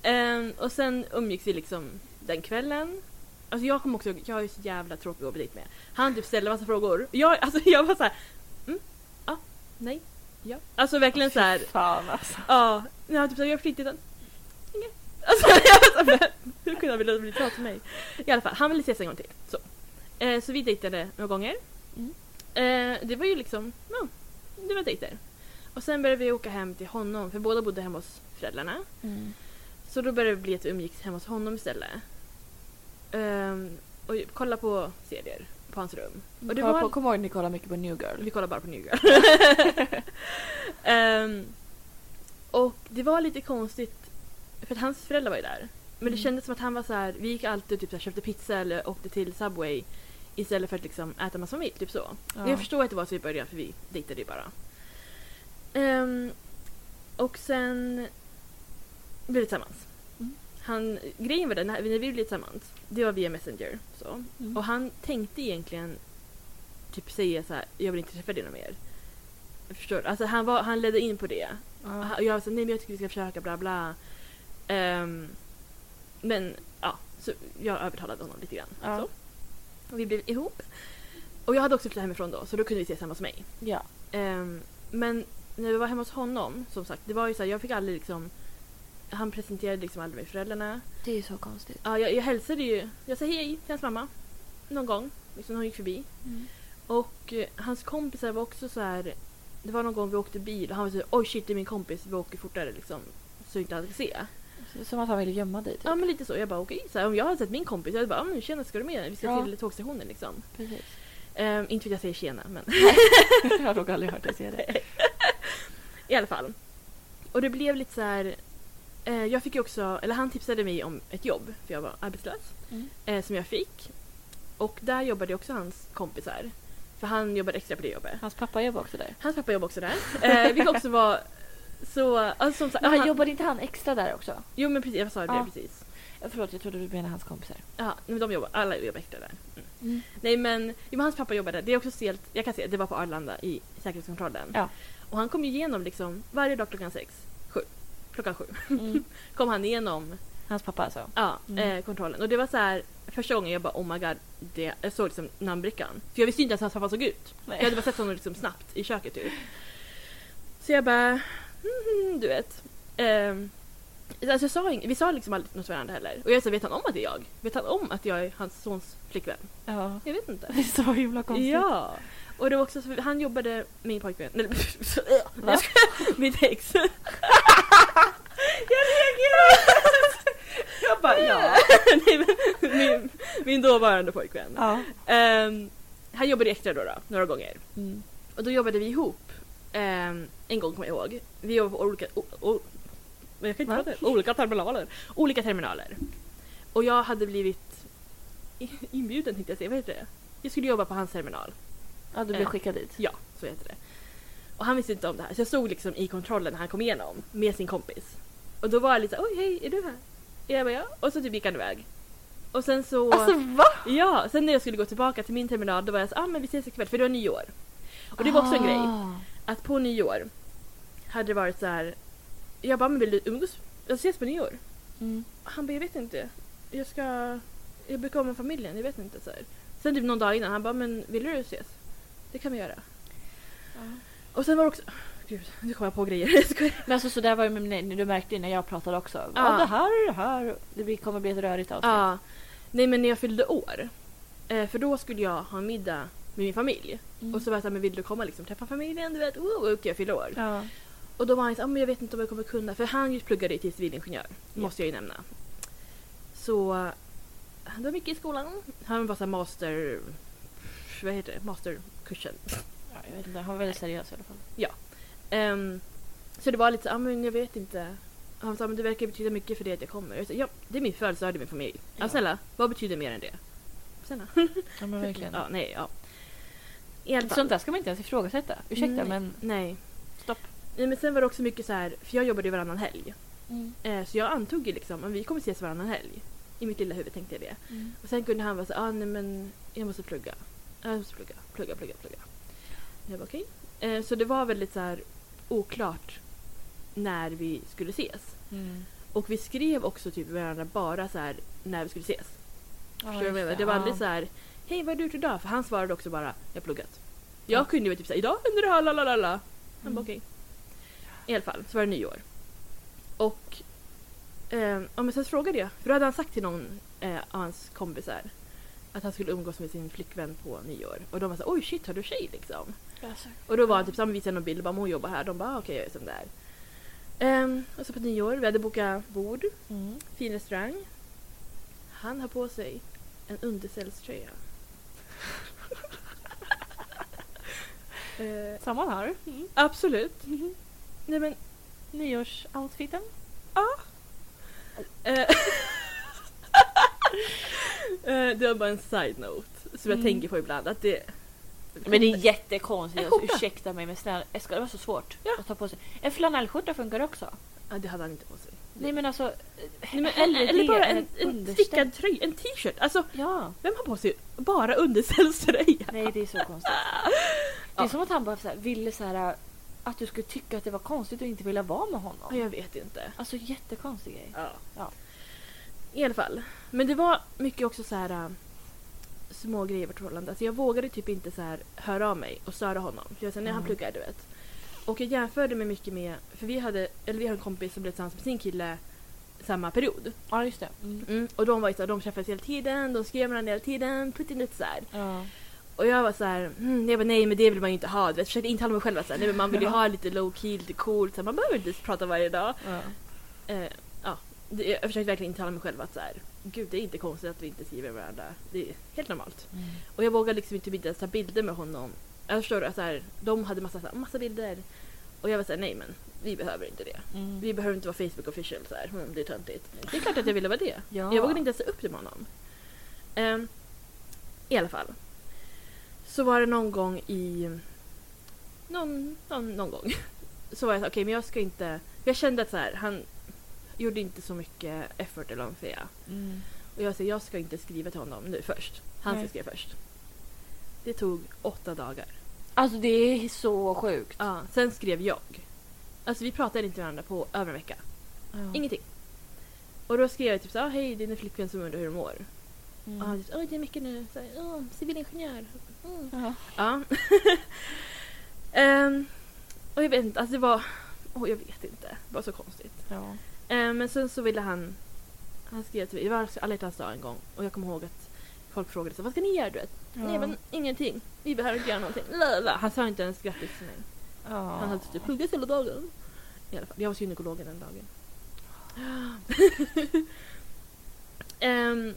Ehm, och sen umgicks vi liksom den kvällen. Alltså jag kommer också ihåg- jag är så jävla tråkig att gå på dejt med. Han typ ställde massa frågor. Jag, alltså jag var såhär, mm, ja, nej, ja. Alltså verkligen så såhär,
Fy Fan alltså.
Ja, när han typ såhär, jag har fritiden. Inget. Alltså jag vet inte, hur kunde han vilja bli klar till mig? I alla fall, han ville ses en gång till. Så, eh, så vi dejtade några gånger.
Mm.
Eh, det var ju liksom, ja, det var dejter. Och sen började vi åka hem till honom, för båda bodde hemma hos föräldrarna.
Mm.
Så då började det bli att vi umgicks hemma hos honom istället. Ehm, och kolla på serier på hans rum. Och det
Kolla
var-
på, kom ihåg att ni kollar mycket på New Girl.
vi kollar bara på New Girl. Ehm, och det var lite konstigt för att hans föräldrar var ju där. Men det
Mm.
kändes som att han var så här, vi gick alltid typ så här, köpte pizza eller åkte till Subway istället för att liksom äta med familj, typ så.
Ja.
Jag förstår att det var så i början för vi dejtade ju bara. Ehm, och sen blev vi tillsammans.
Mm.
Han, grejen var den, när vi blev tillsammans, det var via Messenger. Så.
Mm.
Och han tänkte egentligen typ säga så här, jag vill inte träffa dig någon mer. Förstår du? Alltså han, var, han ledde in på det.
Ja.
Och han- och jag sa nej men jag tycker vi ska försöka bla bla. Ehm, men ja, så jag övertalade honom lite grann.
Ja.
Så. Och vi blev ihop. Och jag hade också flyttat hemifrån då så då kunde vi ses hemma hos mig.
ja.
Ehm, men när vi var hemma hos honom, som sagt, det var ju så här, jag fick aldrig liksom... han presenterade liksom aldrig mig för föräldrarna.
Det är ju så konstigt.
Ja, jag, jag hälsade ju. Jag sa hej till hans mamma. Någon gång. Liksom, hon gick förbi.
Mm.
Och eh, hans kompisar var också så här. Det var någon gång vi åkte bil och han var så här, oj shit det är min kompis, vi åker fortare liksom. Så inte han ska se.
Som att han vill gömma dig. Typ.
Ja men lite så. Jag bara okej. Så här, Om jag hade sett min kompis, jag hade bara "Ja, men tjena ska du med? Vi ska
Ja.
till tågstationen liksom.
Precis.
Ehm, inte för att jag säger tjena men
jag har nog aldrig hört dig säga det.
i alla fall. Och det blev lite så här. Eh, jag fick ju också, eller han tipsade mig om ett jobb för jag var arbetslös.
Mm.
eh, som jag fick. Och där jobbade också hans kompisar. För han jobbade extra på det jobbet.
Hans pappa jobbar också där.
Hans pappa jobbade också där. Eh, vilket också var så... Alltså, som sagt,
Men han
han-
jobbade inte han extra där också?
Jo men precis, jag sa det
Ja.
precis.
Ja, Eh, Förlåt, jag trodde du menade hans kompisar.
Ja, nej, men de jobbar, alla jobbar extra där. Nej men, jo, men hans pappa jobbade där. Det är också stelt, jag kan se, det var på Arlanda i säkerhetskontrollen.
Ja.
Och han kom ju igenom liksom varje dag klockan sex, sju, klockan sju.
Mm.
Kom han igenom
Hans pappa alltså?
Ja,
Mm.
eh, kontrollen. Och det var så här första gången jag bara oh my god, det, jag såg liksom namnbrickan. För jag visste inte ens hur hans pappa såg ut.
Nej.
Jag hade bara sett honom liksom snabbt i köket typ. Så jag bara, mm, du vet. Ehm, alltså jag sa, ing- vi sa liksom aldrig något till varandra heller. Och jag sa, vet han om att det är jag? Vet han om att jag är hans sons flickvän?
Ja.
Jag vet inte.
Det är så himla konstigt.
Ja! Och det var också, så- han jobbade, min pojkvän, nej,
Va?
jag skojar, mitt ex. jag reagerade! jag bara ja. nej, men, min, min dåvarande pojkvän.
ja.
Ehm, han jobbade extra då, då, några gånger.
Mm.
Och då jobbade vi ihop. ehm, en gång kommer jag ihåg. Vi jobbade på olika... O, o, men jag kan
Va?
inte prata. Olika terminaler. Olika terminaler. Och jag hade blivit i- inbjuden tänkte jag säga. Vad heter det? Jag skulle jobba på hans terminal.
ja, du blev
Eh.
skickad dit.
Ja, så heter det. Och han visste inte om det här. Så jag stod liksom i kontrollen när han kom igenom med sin kompis. Och då var jag lite så här, oj hej, är du här? Jag bara, ja. Och så typ gick han iväg. Och sen så...
Alltså va?
Ja, sen när jag skulle gå tillbaka till min terminal då var jag så ah men vi ses ikväll för det var nyår. Och det var också en grej
Ah.
att på nyår hade det varit så här. Jag bara, men vill du umgås? Jag ses på nyår.
Mm.
Och Han bara, jag vet inte. Jag ska... Jag brukar vara med familjen, jag vet inte. Så här. Sen typ någon dag innan, han bara, men vill du ses? Det kan vi göra. Och sen var det också... Gud, nu kommer jag på grejer. Jag skojar.
Men alltså så där var det med mig, du märkte ju när jag pratade också. Ja,
Ja.
det här är det här. Det blir- kommer bli ett rörigt avsnitt.
Ja. Nej men när jag fyllde år. eh, För då skulle jag ha en middag med min familj.
Mm.
Och så var jag såhär, men vill du komma liksom träffa familjen? Du vet, oh, okej jag fyller år.
Ja.
Och då var han så, ah, men jag vet inte om jag kommer kunna. För han just pluggade till civilingenjör, måste jag ju nämna. Så eh, det var mycket i skolan. Han var så här master... Vad heter det? Masterkursen.
ja, jag vet inte. Han var väldigt seriös i alla fall.
Ehm, så det var lite så, ah, men jag vet inte. Han sa, men det verkar betyda mycket för dig att jag kommer. Jag sa, ja, det är min födelsedag, det är min familj. Ja.
Ja.
snälla, vad betyder mer än det? Snälla.
Ja, men verkligen.
Ja, nej, ja. I alla fall.
Sånt där ska man inte ens ifrågasätta. Ursäkta
Nej.
men
Nej.
stopp.
nej, men sen var det också mycket så här, för jag jobbade ju varannan helg.
Mm.
Eh, Så jag antog ju liksom att vi kommer ses varannan helg. I mitt lilla huvud tänkte jag det. Och sen kunde han vara så ah, nej men jag måste plugga. Jag måste plugga, plugga, plugga, plugga. Jag bara okej. Eh, Så det var väldigt så här oklart när vi skulle ses.
Mm.
Och vi skrev också typ varandra bara så här när vi skulle ses. Förstår du vad jag menar? Det var aldrig så här, hej vad har du gjort idag? För han svarade också bara, jag har pluggat. Jag
Ja.
kunde ju typ säga, idag händer det här, lalalala. Han bara
Mm.
okej. I alla fall, så var det nyår. Och eh, ja, men sen frågade jag, för då hade han sagt till någon eh, av hans kompisar att han skulle umgås med sin flickvän på nyår. Och de var såhär, oj shit har du tjej liksom? Och då var han typ såhär, visade någon bild, bara, men hon jobbar här. De bara, "Ah, okej jag är som där. Ehm, och så på nyår, vi hade bokat bord
Mm.
fin restaurang. Han har på sig en underställströja. eh,
Samma här.
absolut. Nej men,
Nyårsoutfiten.
eh, eh, det var bara en side-note som jag
Mm.
tänker på ibland att det...
Men det är jättekonstigt.
En
Alltså,
skjorta.
ursäkta mig men snälla. jag ska- Det var så svårt
Ja.
att ta på sig. En flanellskjorta funkar också.
Ja, det hade han inte på sig.
Nej men alltså.
Nej, men,
hellre
eller
det
bara
än
en,
ett
en
underställ.
stickad tröja, en t-shirt. Alltså,
Ja.
vem har på sig bara underställströja?
Nej det är så konstigt. Det är
Ja.
som att han bara så här, ville så här, eh, att du skulle tycka att det var konstigt och inte vilja vara med
Ja,
honom.
jag vet inte.
Alltså jättekonstig grej.
Ja.
Ja.
I alla fall. Men det var mycket också så här äh, små grejer i vårt förhållande. Alltså jag vågade typ inte så här höra av mig och störa honom. För jag sa när han
Mm.
pluggar, du vet. Och jag jämförde mig mycket med, för vi hade, eller vi har en kompis som blev tillsammans med sin kille samma period.
Ja, just det. Mm.
Mm. Och de var ju så här, de träffades hela tiden, de skrev varandra hela tiden, Putin lite såhär.
Ja.
Och jag var såhär, mm, jag bara nej men det vill man ju inte ha. Du vet, försökte intala mig själv att så här, nej, men man vill ju ha lite low key, lite coolt, så här, man behöver inte prata varje dag.
Ja.
Eh, ja, det, jag försökte verkligen intala mig själv att så här, gud det är inte konstigt att vi inte skriver med varandra. Det är helt normalt.
Mm.
Och jag vågade liksom inte inte ens ta bilder med honom. Jag förstår att så här, de hade massa, så här, massa bilder. Och jag var såhär, nej men vi behöver inte det.
Mm.
Vi behöver inte vara Facebook official så här. Mm, det är töntigt. Det är klart att jag ville vara det.
Ja.
Jag vågade inte ens ta upp det med honom. Ehm, I alla fall. Så var det någon gång i... Någon, någon, någon gång. Så var jag så här, okej men jag ska inte... Jag kände att så här, han gjorde inte så mycket effort eller vad man ska säga.
Mm.
Och jag säger jag ska inte skriva till honom nu först. Han
Nej.
ska skriva först. Det tog åtta dagar.
Alltså det är så sjukt.
Ja, sen skrev jag. Alltså vi pratade inte med varandra på över en vecka. Ingenting. Och då skrev jag typ såhär, hej det är din flickvän som undrar hur du mår.
Mm.
Och han typ, oj det är mycket nu, så här, "Åh, civilingenjör. Mm.
Ja.
Ja. Ehm, och jag vet inte, alltså det var, åh jag vet inte, det var så konstigt.
Ja.
Eh, men sen så ville han... Han skrev till mig, det var alltså alla hjärtans dag en gång och jag kommer ihåg att folk frågade så vad ska ni göra du vet? Nej men ingenting, vi behöver inte göra någonting. Lala. Han sa inte ens grattis till mig.
Ja.
Han hade suttit och pluggat hela dagen. I alla fall, jag var hos gynekologen den dagen. Ehm,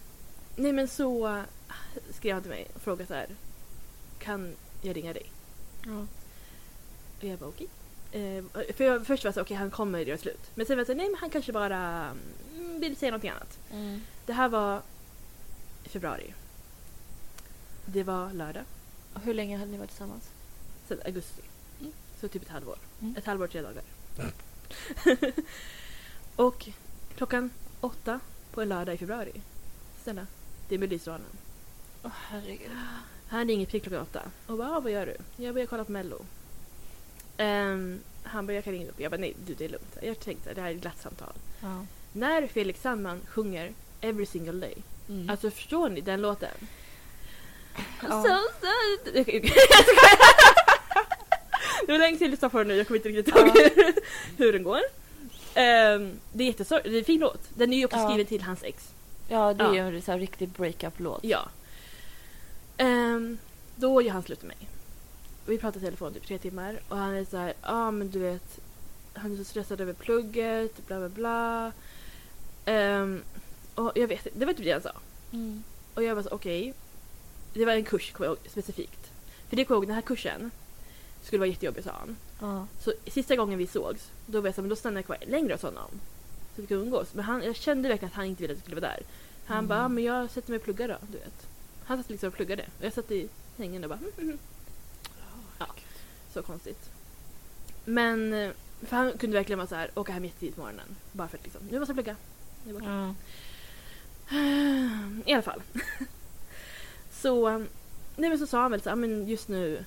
nej men så eh, skrev han till mig och frågade så här, kan jag ringa dig?
Ja.
Och jag bara okej. Eh, för jag, först var jag så okej han kommer göra slut. Men sen var jag så nej men han kanske bara mm, vill säga någonting annat.
Mm.
Det här var i februari. Det var lördag,
Och Hur länge hade ni varit tillsammans?
sen augusti.
Mm.
Så typ ett halvår.
Mm.
Ett halvår, tre dagar. och klockan åtta på en lördag i februari. Snälla, det är Melodifestivalen.
Åh herregud.
Han ringer prick klockan åtta och bara "Ah, “Vad gör du?” Jag börjar kolla på Mello. Ehm, han bara “Jag kan ringa upp”. Jag bara “Nej, du det är lugnt”. Jag tänkte det här är ett glatt samtal.
Ja.
När Felix Sandman sjunger “Every single day”
Mm.
Alltså förstår ni den låten?
Ja.
So sad. Jag skojar. Det var länge sedan jag lyssnade på den nu, jag kommer inte riktigt ihåg hur, hur den går. Ehm, det är jättesorgligt, det är en fin låt. Den är ju också
Ja.
skriven till hans ex.
ja det är
Ja.
ju en så här riktig breakup-låt.
Ja. Ehm, då gör han slut med mig. Vi pratar i telefon typ tre timmar och han är så här, ja ah, men du vet, han är så stressad över plugget, bla bla bla. Ehm, och jag vet det var typ det han sa.
Mm.
Och jag var så okej. Det var en kurs kommer jag ihåg, specifikt. För det kommer jag ihåg, den här kursen skulle vara jättejobbig sa han.
Ja.
Så sista gången vi sågs, då var jag så här, men då stannade jag kvar längre hos honom. Så vi kunde umgås. Men han, jag kände verkligen att han inte ville att jag skulle vara där. Han
Mm.
bara, "Ja, men jag sätter mig och pluggar då, du vet. Han satt liksom och pluggade. Och jag satt i sängen och bara, mm, mm, mm. Ja, så konstigt. Men, eh, för han kunde verkligen vara så här, åka hem jättetidigt på morgonen. Bara för att liksom, nu måste jag plugga. Jag bara,
Ja.
i alla fall. så, um, nej men så sa han väl så här, men just nu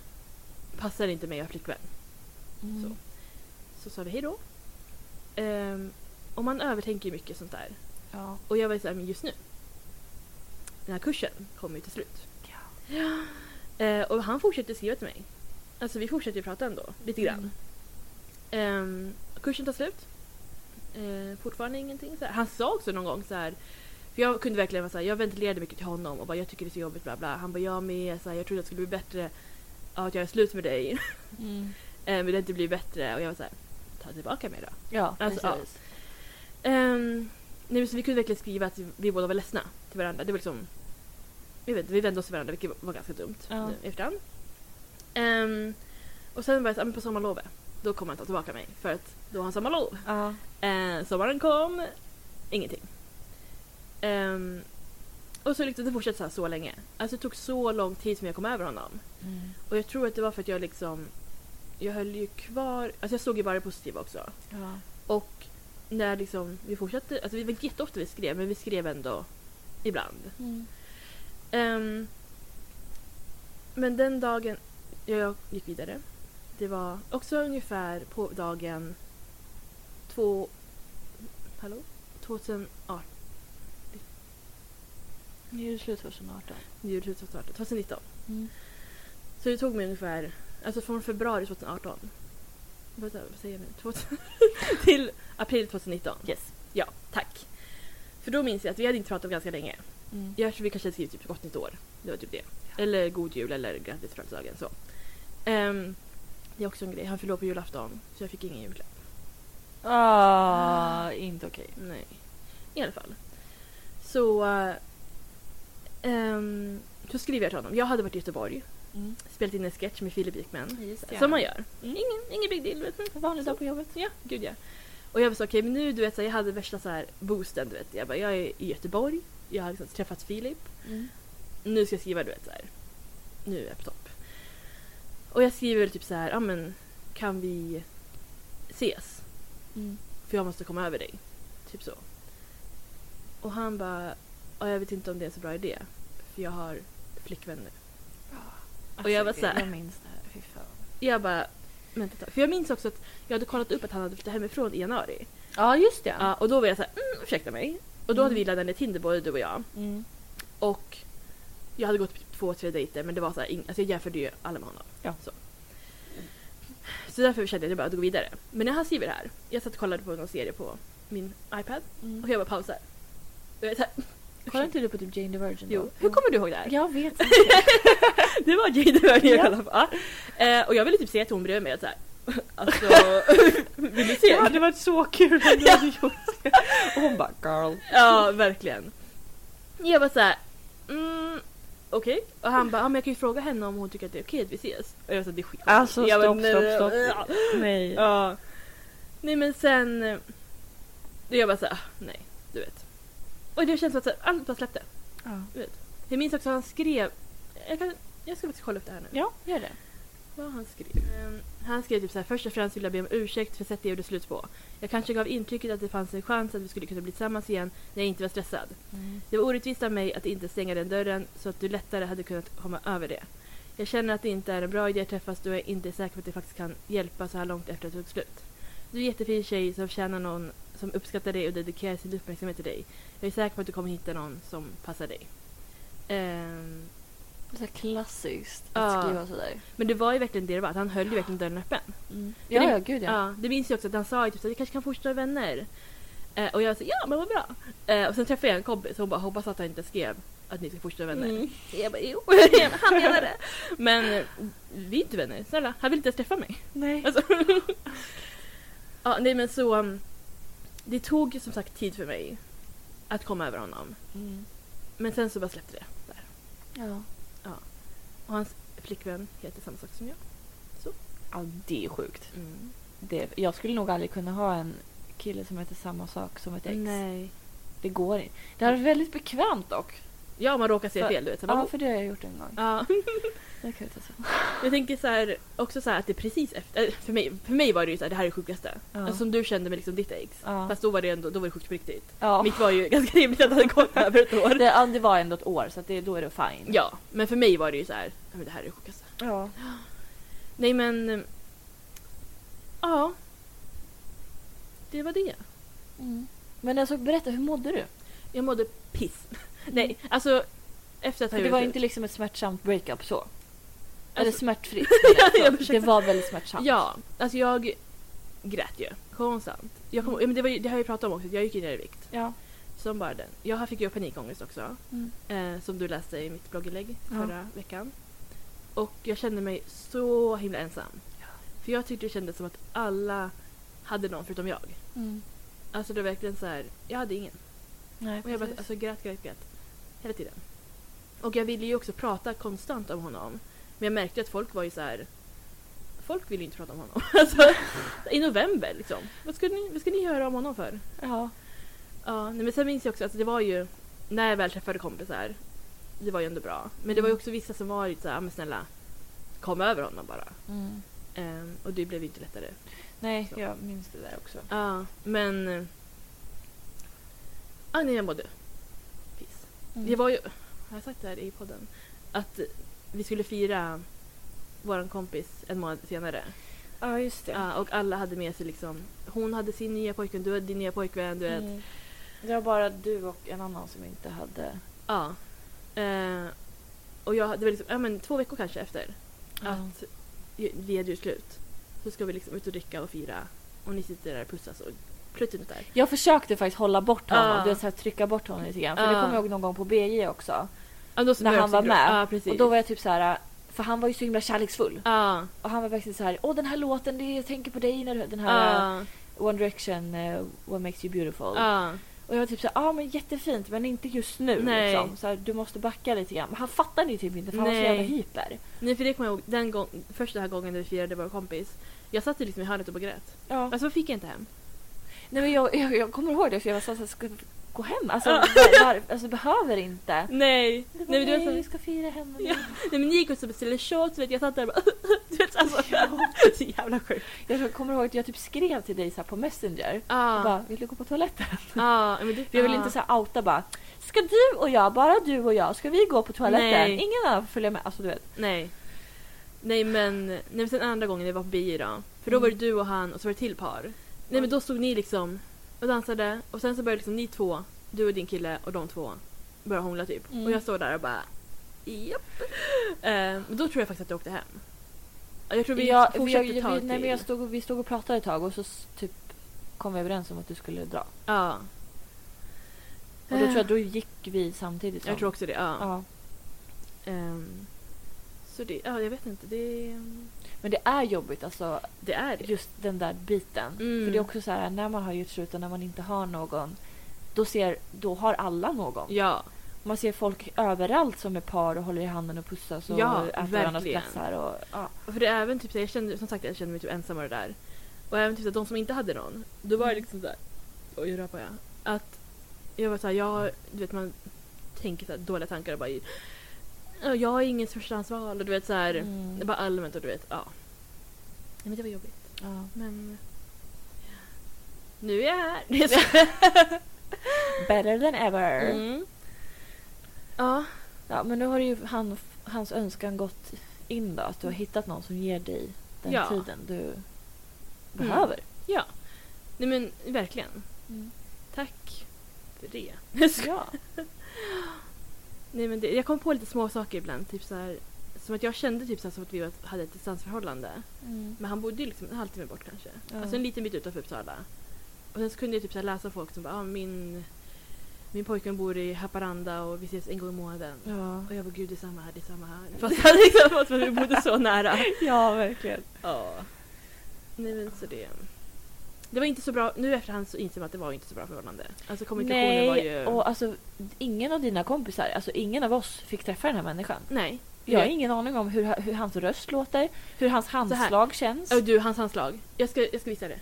passar det inte mig att ha flickvän.
Mm.
Så. Så sa vi hej då. Ehm, och man övertänker ju mycket sånt där.
Ja.
Och jag var ju så här, men just nu. Den här kursen kommer ju till slut. Ja. Eh, och han fortsätter skriva till mig. Alltså vi fortsätter ju prata ändå, lite grann. Ehm, kursen tar slut. Eh, fortfarande ingenting. Så här. Han sa också någon gång så här. För jag kunde verkligen vara så här, jag ventilerade mycket till honom och bara jag tycker det är så jobbigt bla bla. Han bara jag med, så här, jag trodde att det skulle bli bättre av att göra slut med dig. Eh,
Mm.
men det har inte blivit bättre och jag var så här, ta tillbaka mig då.
Ja,
Alltså, ja.
precis.
Um, nej, men så vi kunde verkligen skriva att vi, vi båda var ledsna till varandra. Det var liksom, jag vet, inte, vi vände oss till varandra vilket var- var ganska dumt
Ja.
nu i efterhand. Ehm, och sen var jag så, här, men på sommarlovet, då kommer han ta tillbaka mig för att då har han sommarlov.
Ja.
Uh, sommaren kom, ingenting. Ehm, och så liksom, det fortsatte så, här så länge. Alltså det tog så lång tid som jag kom över honom.
Mm.
Och jag tror att det var för att jag liksom, jag höll ju kvar, alltså jag såg ju bara det positiva också.
Ja.
Och när liksom vi fortsatte, alltså vi var inte jätteofta vi skrev men vi skrev ändå ibland.
Mm.
Ehm, men den dagen jag gick vidare, det var också ungefär på dagen två, hallå? 2018,
Nu är det slut 2018.
nu är det 2018, 2019.
Mm.
Så det tog mig ungefär, alltså från februari 2018, vad vad säger jag nu? 2000 till april 2019.
Yes.
Ja, tack. För då minns jag att vi hade inte pratat om ganska länge.
Mm.
Jag tror vi kanske hade skrivit typ gott nytt år. Det var typ det. Eller god jul eller grattis födelsedagen. Så. Ehm, det är också en grej. Han förlorade på julafton så jag fick ingen julklapp.
Ah, inte okej.
Nej. I alla fall. Så... eh, ehm, så skrev jag till honom. Jag hade varit i Göteborg.
Mm.
Spelat in en sketch med Filip Ekman.
Just det.
Som man gör.
Mm.
Ingen, ingen big deal. Vet du.
En vanlig dag på jobbet.
Ja, gud ja. Och jag var så okej, men nu du vet, så här, jag hade värsta så här boosten du vet. Jag bara, jag är i Göteborg, jag har liksom träffat Filip.
Mm.
Nu ska jag skriva du vet så här. Nu är jag på topp. Och jag skriver typ så här, ja men kan vi ses?
Mm.
För jag måste komma över dig. Typ så. Och han bara, ja, jag vet inte om det är en så bra idé. För jag har flickvän nu. Och jag var
Alltså, det-
så här-
Jag minns det här. Fy fan.
Jag bara, vänta ett tag. För jag minns också att jag hade kollat upp att han hade flyttat hemifrån i januari.
Ja, just det.
Ja, och då var jag så här, mm, ursäkta mig. Och då hade
Mm.
vi laddat ner Tinder både du och jag.
Mm.
Och jag hade gått på typ två, tre dejter men det var så här, ing- alltså jag jämförde ju alla med honom.
Ja.
Så. så därför kände jag att jag bara gå vidare. Men när han skriver det här, jag satt och kollade på någon serie på min iPad
Mm.
och jag bara pausar. Och jag är så här,
Kollar inte du på typ Jane the Virgin? då?
jo, hur kommer du ihåg det här?
Jag vet inte.
Det var Jane the Virgin jag
Ja.
kollade på. Ja. Eh, och jag ville typ säga till hon bredvid mig att så här, alltså vill du se?
Det hade varit så kul om du hade gjort det. Och hon bara girl.
Ja, verkligen. Jag var såhär, mm, okej. Och han bara, ja, men jag kan ju fråga henne om hon tycker att det är okej att vi ses. Och jag sa, det är skit.
Alltså
jag
stopp,
bara,
stopp,
nej,
stopp.
ja.
Nej.
Ja. Nej men sen, eh, jag bara såhär, ah, nej, du vet. Och det känns som att så här, allt bara släppte.
Ja.
Jag minns också att han skrev, jag, kan, jag ska faktiskt kolla upp det här nu.
ja, gör det.
Vad han skrev. Ehm, Han skrev typ så här, först och främst vill jag be om ursäkt för sättet jag gjorde slut på. Jag kanske gav intrycket att det fanns en chans att vi skulle kunna bli tillsammans igen när jag inte var stressad.
Mm.
Det var orättvist av mig att inte stänga den dörren så att du lättare hade kunnat komma över det. Jag känner att det inte är en bra idé att träffas då jag inte är säker på att det faktiskt kan hjälpa så här långt efter att det tog slut. Du är en jättefin tjej som förtjänar någon som uppskattar dig och dedikerar sin uppmärksamhet till dig. Jag är säker på att du kommer hitta någon som passar dig. Ehm,
Det är så här klassiskt att
Ja.
skriva sådär.
men det var ju verkligen det det var, att han höll ju verkligen dörren öppen.
Mm.
Ja,
Ja,
ja,
ja, gud ja.
Ja, det minns jag också att han sa ju typ att vi kanske kan fortsätta vara vänner. Eh, och jag sa ja men vad bra. Eh, och sen träffade jag en kompis och hon bara hoppas att han inte skrev att ni ska fortsätta vara vänner. Jag bara jo, han menar det. Men eh, vi är inte vänner, snälla. Han vill inte ens träffa mig.
Nej.
Alltså. ja, nej men så. um, Det tog som sagt tid för mig att komma över honom.
Mm.
Men sen så bara släppte det. Där.
Ja.
Och hans flickvän heter samma sak som jag.
ja, det är sjukt. Det, jag skulle nog aldrig kunna ha en kille som heter samma sak som ett ex.
Nej.
Det går inte. Det här är väldigt bekvämt dock.
Ja, man råkar säga
För-
fel du vet. Så bara,
Ja, för det har jag gjort en gång.
ja.
Det kan jag ta sen.
Jag tänker så här, också så här att det är precis efter, äh, för mig, för mig var det ju så här, det här är det sjukaste.
Ja.
Alltså, som du kände med liksom ditt ex.
Ja.
Fast då var det ändå, då var det sjukt på riktigt.
Ja.
Mitt var ju ganska rimligt att det hade gått över ett år.
Det, ja, det var ändå ett år så att det, då är det fine.
Ja, men för mig var det ju så här, "Nej, men det här är det sjukaste.
Ja.
Nej men, eh, ja. Det var det.
Mm. Men alltså berätta, hur mådde du?
Jag mådde piss. Nej, alltså efter att
För
han
Mm. det
gjorde
var
slut-
inte liksom ett smärtsamt breakup så. Eller
Alltså-
smärtfritt.
Ja, jag
menar jag så.
försökte-
det var väldigt smärtsamt.
Ja, alltså jag grät ju konstant. Jag
Mm.
kom, ja, men det, var ju, det har jag ju pratat om också, jag gick ju ner i vikt.
Ja.
Som bara den. Jag fick ju panikångest också.
Mm.
eh, som du läste i mitt blogginlägg
Ja.
förra veckan. Och jag kände mig så himla ensam. För jag tyckte det kändes som att alla hade någon förutom jag.
Mm.
Alltså det var verkligen så här, jag hade ingen.
Nej,
Och jag bara,
precis.
alltså, grät, grät, grät. Hela tiden. Och jag ville ju också prata konstant om honom. Men jag märkte att folk var ju så här. Folk ville ju inte prata om honom. Alltså, I november liksom. Vad skulle ni, vad skulle ni höra om honom för?
ja.
Ja, nej, men sen minns jag också att det var ju när jag väl träffade kompisar. Det var ju ändå bra. Men det var ju
Mm.
också vissa som var ju så här, "Ah, men snälla kom över honom bara.
Mm.
Ehm, och det blev ju inte lättare.
Nej,
Så.
jag minns det där också.
Ja, men... eh, Ja, nej, jag mådde piss. Det var ju, har jag sagt det här i podden? Att vi skulle fira våran kompis en månad senare.
Ja, just det.
Ja, och alla hade med sig liksom, hon hade sin nya pojkvän, du hade din nya pojkvän, du vet.
Mm. Det var bara du och en annan som inte hade...
Ja. Eh, och jag, det var liksom, ja, men två veckor kanske efter att ju- vi hade gjort slut. Så ska vi liksom ut och dricka och fira. Och ni sitter där och pussas och Absolut inte.
Jag försökte faktiskt hålla bort honom,
Ja.
du vet, så här, trycka bort honom lite grann. För det
Ja.
kommer jag ihåg någon gång på BJ också.
Ja, då
När han
jag också
var
gråta.
med.
Ja, precis.
Och då var jag typ så här, för han var ju så himla kärleksfull.
Ja.
Och han var verkligen så här, åh den här låten, det jag tänker på dig när du, den här
Ja.
eh, One Direction, eh, What Makes You Beautiful.
Ja.
Och jag var typ så här, ja ah, men jättefint men inte just nu
Nej.
liksom. Så här, du måste backa lite grann. Men han fattade ju typ inte för han var så
Nej.
jävla hyper.
Nej, för det kommer jag ihåg den gång, första här gången när vi firade vår kompis. Jag satt ju liksom i hörnet och bara grät.
Ja.
Alltså fick jag inte hem.
Nej, men jag, jag, jag kommer ihåg det för jag var så här, ska vi gå hem? Alltså,
Ja.
var, var, alltså behöver inte.
Nej.
Det var,
Nej, men det var
nej
så-
vi ska fira hemma nu.
Ja. Nej men ni gick och så beställde shots, vet, jag satt där och bara... Du vet, alltså, så jävla sjukt.
Jag kommer ihåg att jag typ skrev till dig så här, på Messenger.
Ja.
Och bara, vill du gå på toaletten?
Ja, Ah. men det, ah.
För jag vill inte så här, outa bara. Ska du och jag, bara du och jag, ska vi gå på toaletten?
Nej.
Ingen annan får följa med. Alltså du vet.
Nej. Nej men, nej, men sen andra gången vi var på bio då. För då
Mm.
var det du och han och så var det till par. Nej men då stod ni liksom och dansade och sen så började liksom ni två, du och din kille och de två börja hångla typ.
Mm.
Och jag stod där och bara japp. Eh, men då tror jag faktiskt att jag åkte hem. Ja, Jag tror vi
jag, vi, jag,
fortsatte ett tag
vi, nej, men
till.
jag stod, och- vi stod och pratade ett tag och så s- typ kom vi överens om att du skulle dra.
Ja,
Och då tror jag då gick vi samtidigt. som-
jag tror också det. Ja.
Eh, ja.
Ehm, så det, ja jag vet inte. Det,
Men det är jobbigt alltså
det är det.
just den där biten.
Mm.
För det är också så här när man har gjort slut och när man inte har någon. Då, ser, då har alla någon.
Ja.
Man ser folk överallt som är par och håller i handen och pussas och
Ja,
äter varandras
verkligen.
glassar. Och, ja.
Och För det är även typ, så här, jag kände, som sagt jag kände mig typ ensam och det där. Och även typ så här, de som inte hade någon. Då var det liksom såhär, oj hur rapar jag? Att jag var såhär, jag, du vet man tänker såhär dåliga tankar och bara "Ja, jag är ingens förstahandsval och du vet såhär,
Mm.
det är bara allmänt och du vet, ja. Nej men det var jobbigt.
Ja.
Men nu är jag här. Det är så-
Better than ever.
mm. Ja,
Ja, men nu har ju han, hans önskan gått in då. Att du har hittat någon som ger dig den
Ja. Mm.
tiden du behöver.
ja. Nej men verkligen.
Mm.
Tack för det. Jag skojar.
Ja.
Nej, men det, jag kom på lite små saker ibland. Typ så här, som att jag kände typ så här, som att vi var- hade ett distansförhållande. Men han bodde ju liksom en halvtimme bort kanske.
Ja.
Alltså en liten bit utanför Uppsala. Och sen så kunde jag typ så här, läsa folk som bara ah, min, min pojkvän bor i Haparanda och vi ses en gång i månaden.
Ja.
Och jag var gud det är samma här, det är samma här. Fast han liksom fast vi bodde så nära.
ja, verkligen.
Ja. Nej men så det. Det var inte så bra, nu efterhand så inser man att det var inte så bra förhållande. Alltså kommunikationen
Nej,
var ju...
och alltså ingen av dina kompisar, alltså ingen av oss fick träffa den här människan.
Nej.
Jag har ingen aning om hur, hur hans röst låter, hur hans
här.
handslag känns.
Åh, du, hans handslag. Jag ska, jag ska visa det.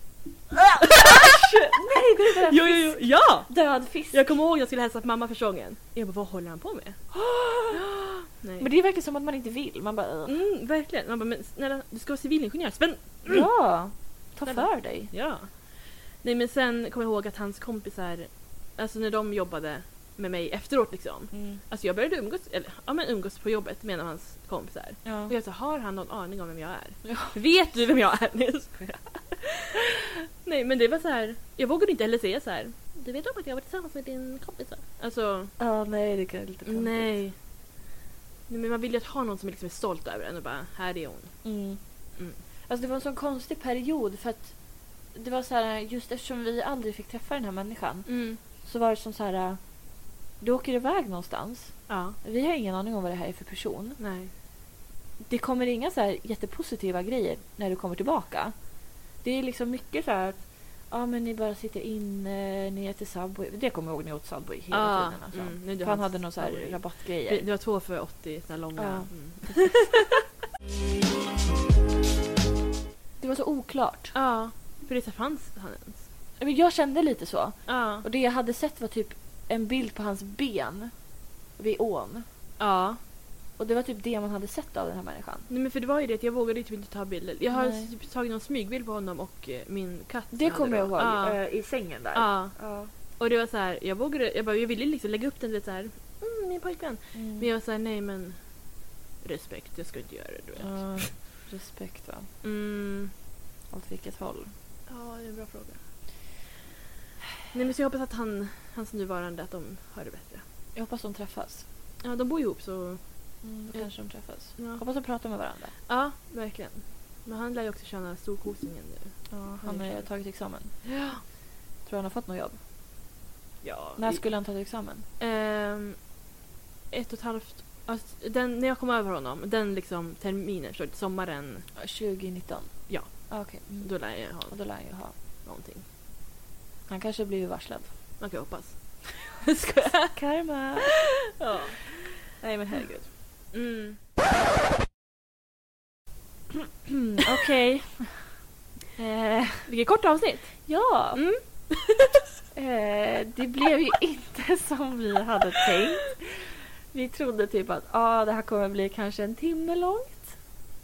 Nej, det är
Jo, jo, jo, ja!
Död fisk.
Jag kommer ihåg jag skulle hälsa på mamma första gången. Jag bara, vad håller han på med? Nej.
Men det verkar som att man inte vill. Man bara... "Ugh."
Mm, verkligen. Man bara, men snälla, du ska vara civilingenjör. Spänn!
Ja, ta
Snälla.
för dig.
Ja. Nej, men sen kommer jag ihåg att hans kompisar, alltså när de jobbade med mig efteråt liksom. Alltså jag började umgås, eller ja men umgås på jobbet med en av hans kompisar.
Ja.
Och jag sa, har han någon aning om vem jag är? Vet du vem jag är? Nej, jag skojar. Nej men det var så här. jag vågade inte heller säga så här. du vet om att jag var tillsammans med din kompis va? Alltså,
Ja, nej, det kan lite töntigt.
nej. Nej men man vill ju att ha någon som liksom är stolt över en och bara, här är hon.
Mm.
Mm.
Alltså det var en sån konstig period för att det var så här, just eftersom vi aldrig fick träffa den här människan så var det som så här, du åker iväg någonstans.
Ja,
Vi har ingen aning om vad det här är för person.
nej.
Det kommer inga så här jättepositiva grejer när du kommer tillbaka. Det är liksom mycket så här att ja men ni bara sitter inne, ni äter Subway. Det kommer jag ihåg när jag åt Subway hela
Ah,
tiden. Alltså.
mm, nej, du
För han
har
hade någon så här
Subway.
rabattgrejer.
Det, det var två för 80 såna här långa.
Ja.
Mm.
Det var så oklart.
ja. För det så fanns han ens.
Men Jag kände lite så.
Ja.
Och det jag hade sett var typ en bild på hans ben vid ån.
Ja.
Och det var typ det man hade sett av den här människan.
Nej men för det var ju det att jag vågade typ inte ta bilder. Jag har
Nej.
typ tagit någon smygbild på honom och eh, min katt. som
Det
hade
kommer jag
då.
ihåg.
Ja.
eh, I sängen där.
ja.
Ja.
Och det var så här, jag vågade, jag bara jag ville liksom lägga upp den lite så här. Mm, min pojkvän. Men
Mm.
jag var så här, nej men respekt, jag ska inte göra det du vet.
Ja, respekt va?
Mm.
Åt vilket håll?
Ja, det är en bra fråga. Nej men så jag hoppas att han, hans nuvarande, att de har det bättre.
Jag hoppas de träffas.
Ja, de bor ihop så
Mm, då
Ja.
kanske de träffas.
ja.
Hoppas de pratar med varandra.
Ja, verkligen. Men han lär ju också tjäna storkosingen nu.
Ja, han har ju tagit examen.
Ja.
Tror han har fått något jobb?
ja
När skulle han ta till examen?
Ehm, ett och ett halvt... Alltså, den, när jag kom över honom, den liksom terminen, så sommaren,
2019?
Ja.
Ah, Okej. Mm.
då lär jag ha
Och då lär han ju ha.
någonting.
Han kanske blir ju varslad.
Man kan ju hoppas. Skojar.
Karma!
Ja. Nej men herregud. Mm.
Mm, Okej. eh,
Vilket kort avsnitt!
ja.
Mm.
Eh, det blev ju inte som vi hade tänkt. Vi trodde typ att ah, det här kommer bli kanske en timme långt.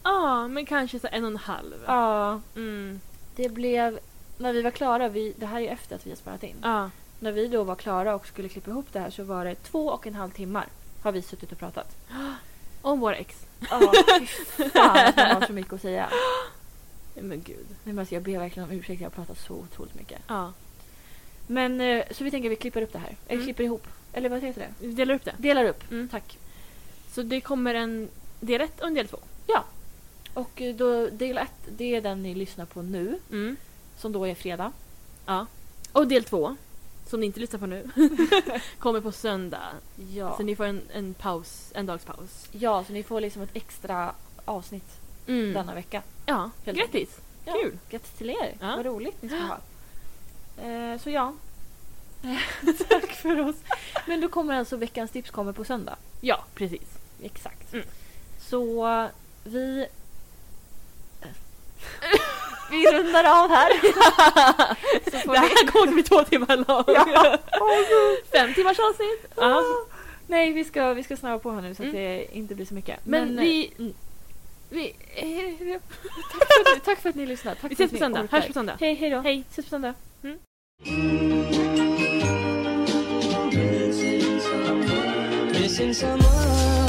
Ja, men kanske så en och en halv.
Ja.
Mm.
Det blev... När vi var klara, vi, det här är ju efter att vi har sparat in.
Ja.
När vi då var klara och skulle klippa ihop det här så var det två och en halv timmar har vi suttit och pratat.
Om våra ex.
Ja, fy fan att man har så mycket att säga.
Men gud.
Nej, men alltså, jag ber verkligen om ursäkt, jag har pratat så otroligt mycket.
Ja.
Men eh, så vi tänker vi klipper upp det här. Eller
Mm.
klipper ihop. Eller vad heter det?
Vi delar upp det.
Delar upp.
Mm.
Tack.
Så det kommer en del ett och en del två.
Och eh, då del ett, det är den ni lyssnar på nu.
Mm.
Som då är fredag.
Ja. Och del två, som ni inte lyssnar på nu, kommer på söndag.
Ja.
Så ni får en, en paus, en dags paus.
ja, så ni får liksom ett extra avsnitt
Mm.
denna vecka.
Ja,
Helt
grattis!
Ja,
Kul.
Grattis till er!
Ja.
Vad roligt ni ska ha. Eh, så ja. Tack för oss. Men då kommer alltså veckans tips kommer på söndag.
Ja, precis.
Exakt.
Mm.
Så eh, vi... vi rundar av här. så får
Det
ni...
här kommer bli två timmar långt.
Ja.
Fem timmars avsnitt. Ja.
Nej, vi ska, vi ska snabba på här nu så att
Mm.
det inte blir så mycket.
Men
eh,
vi-
mm. vi... tack, för att, ni- tack för att ni lyssnar. Tack
Vi
för att
ses på
ni
söndag.
orkar.
Hörs på söndag.
Hej, hej då.
Hej.
Ses på söndag.
missing someone.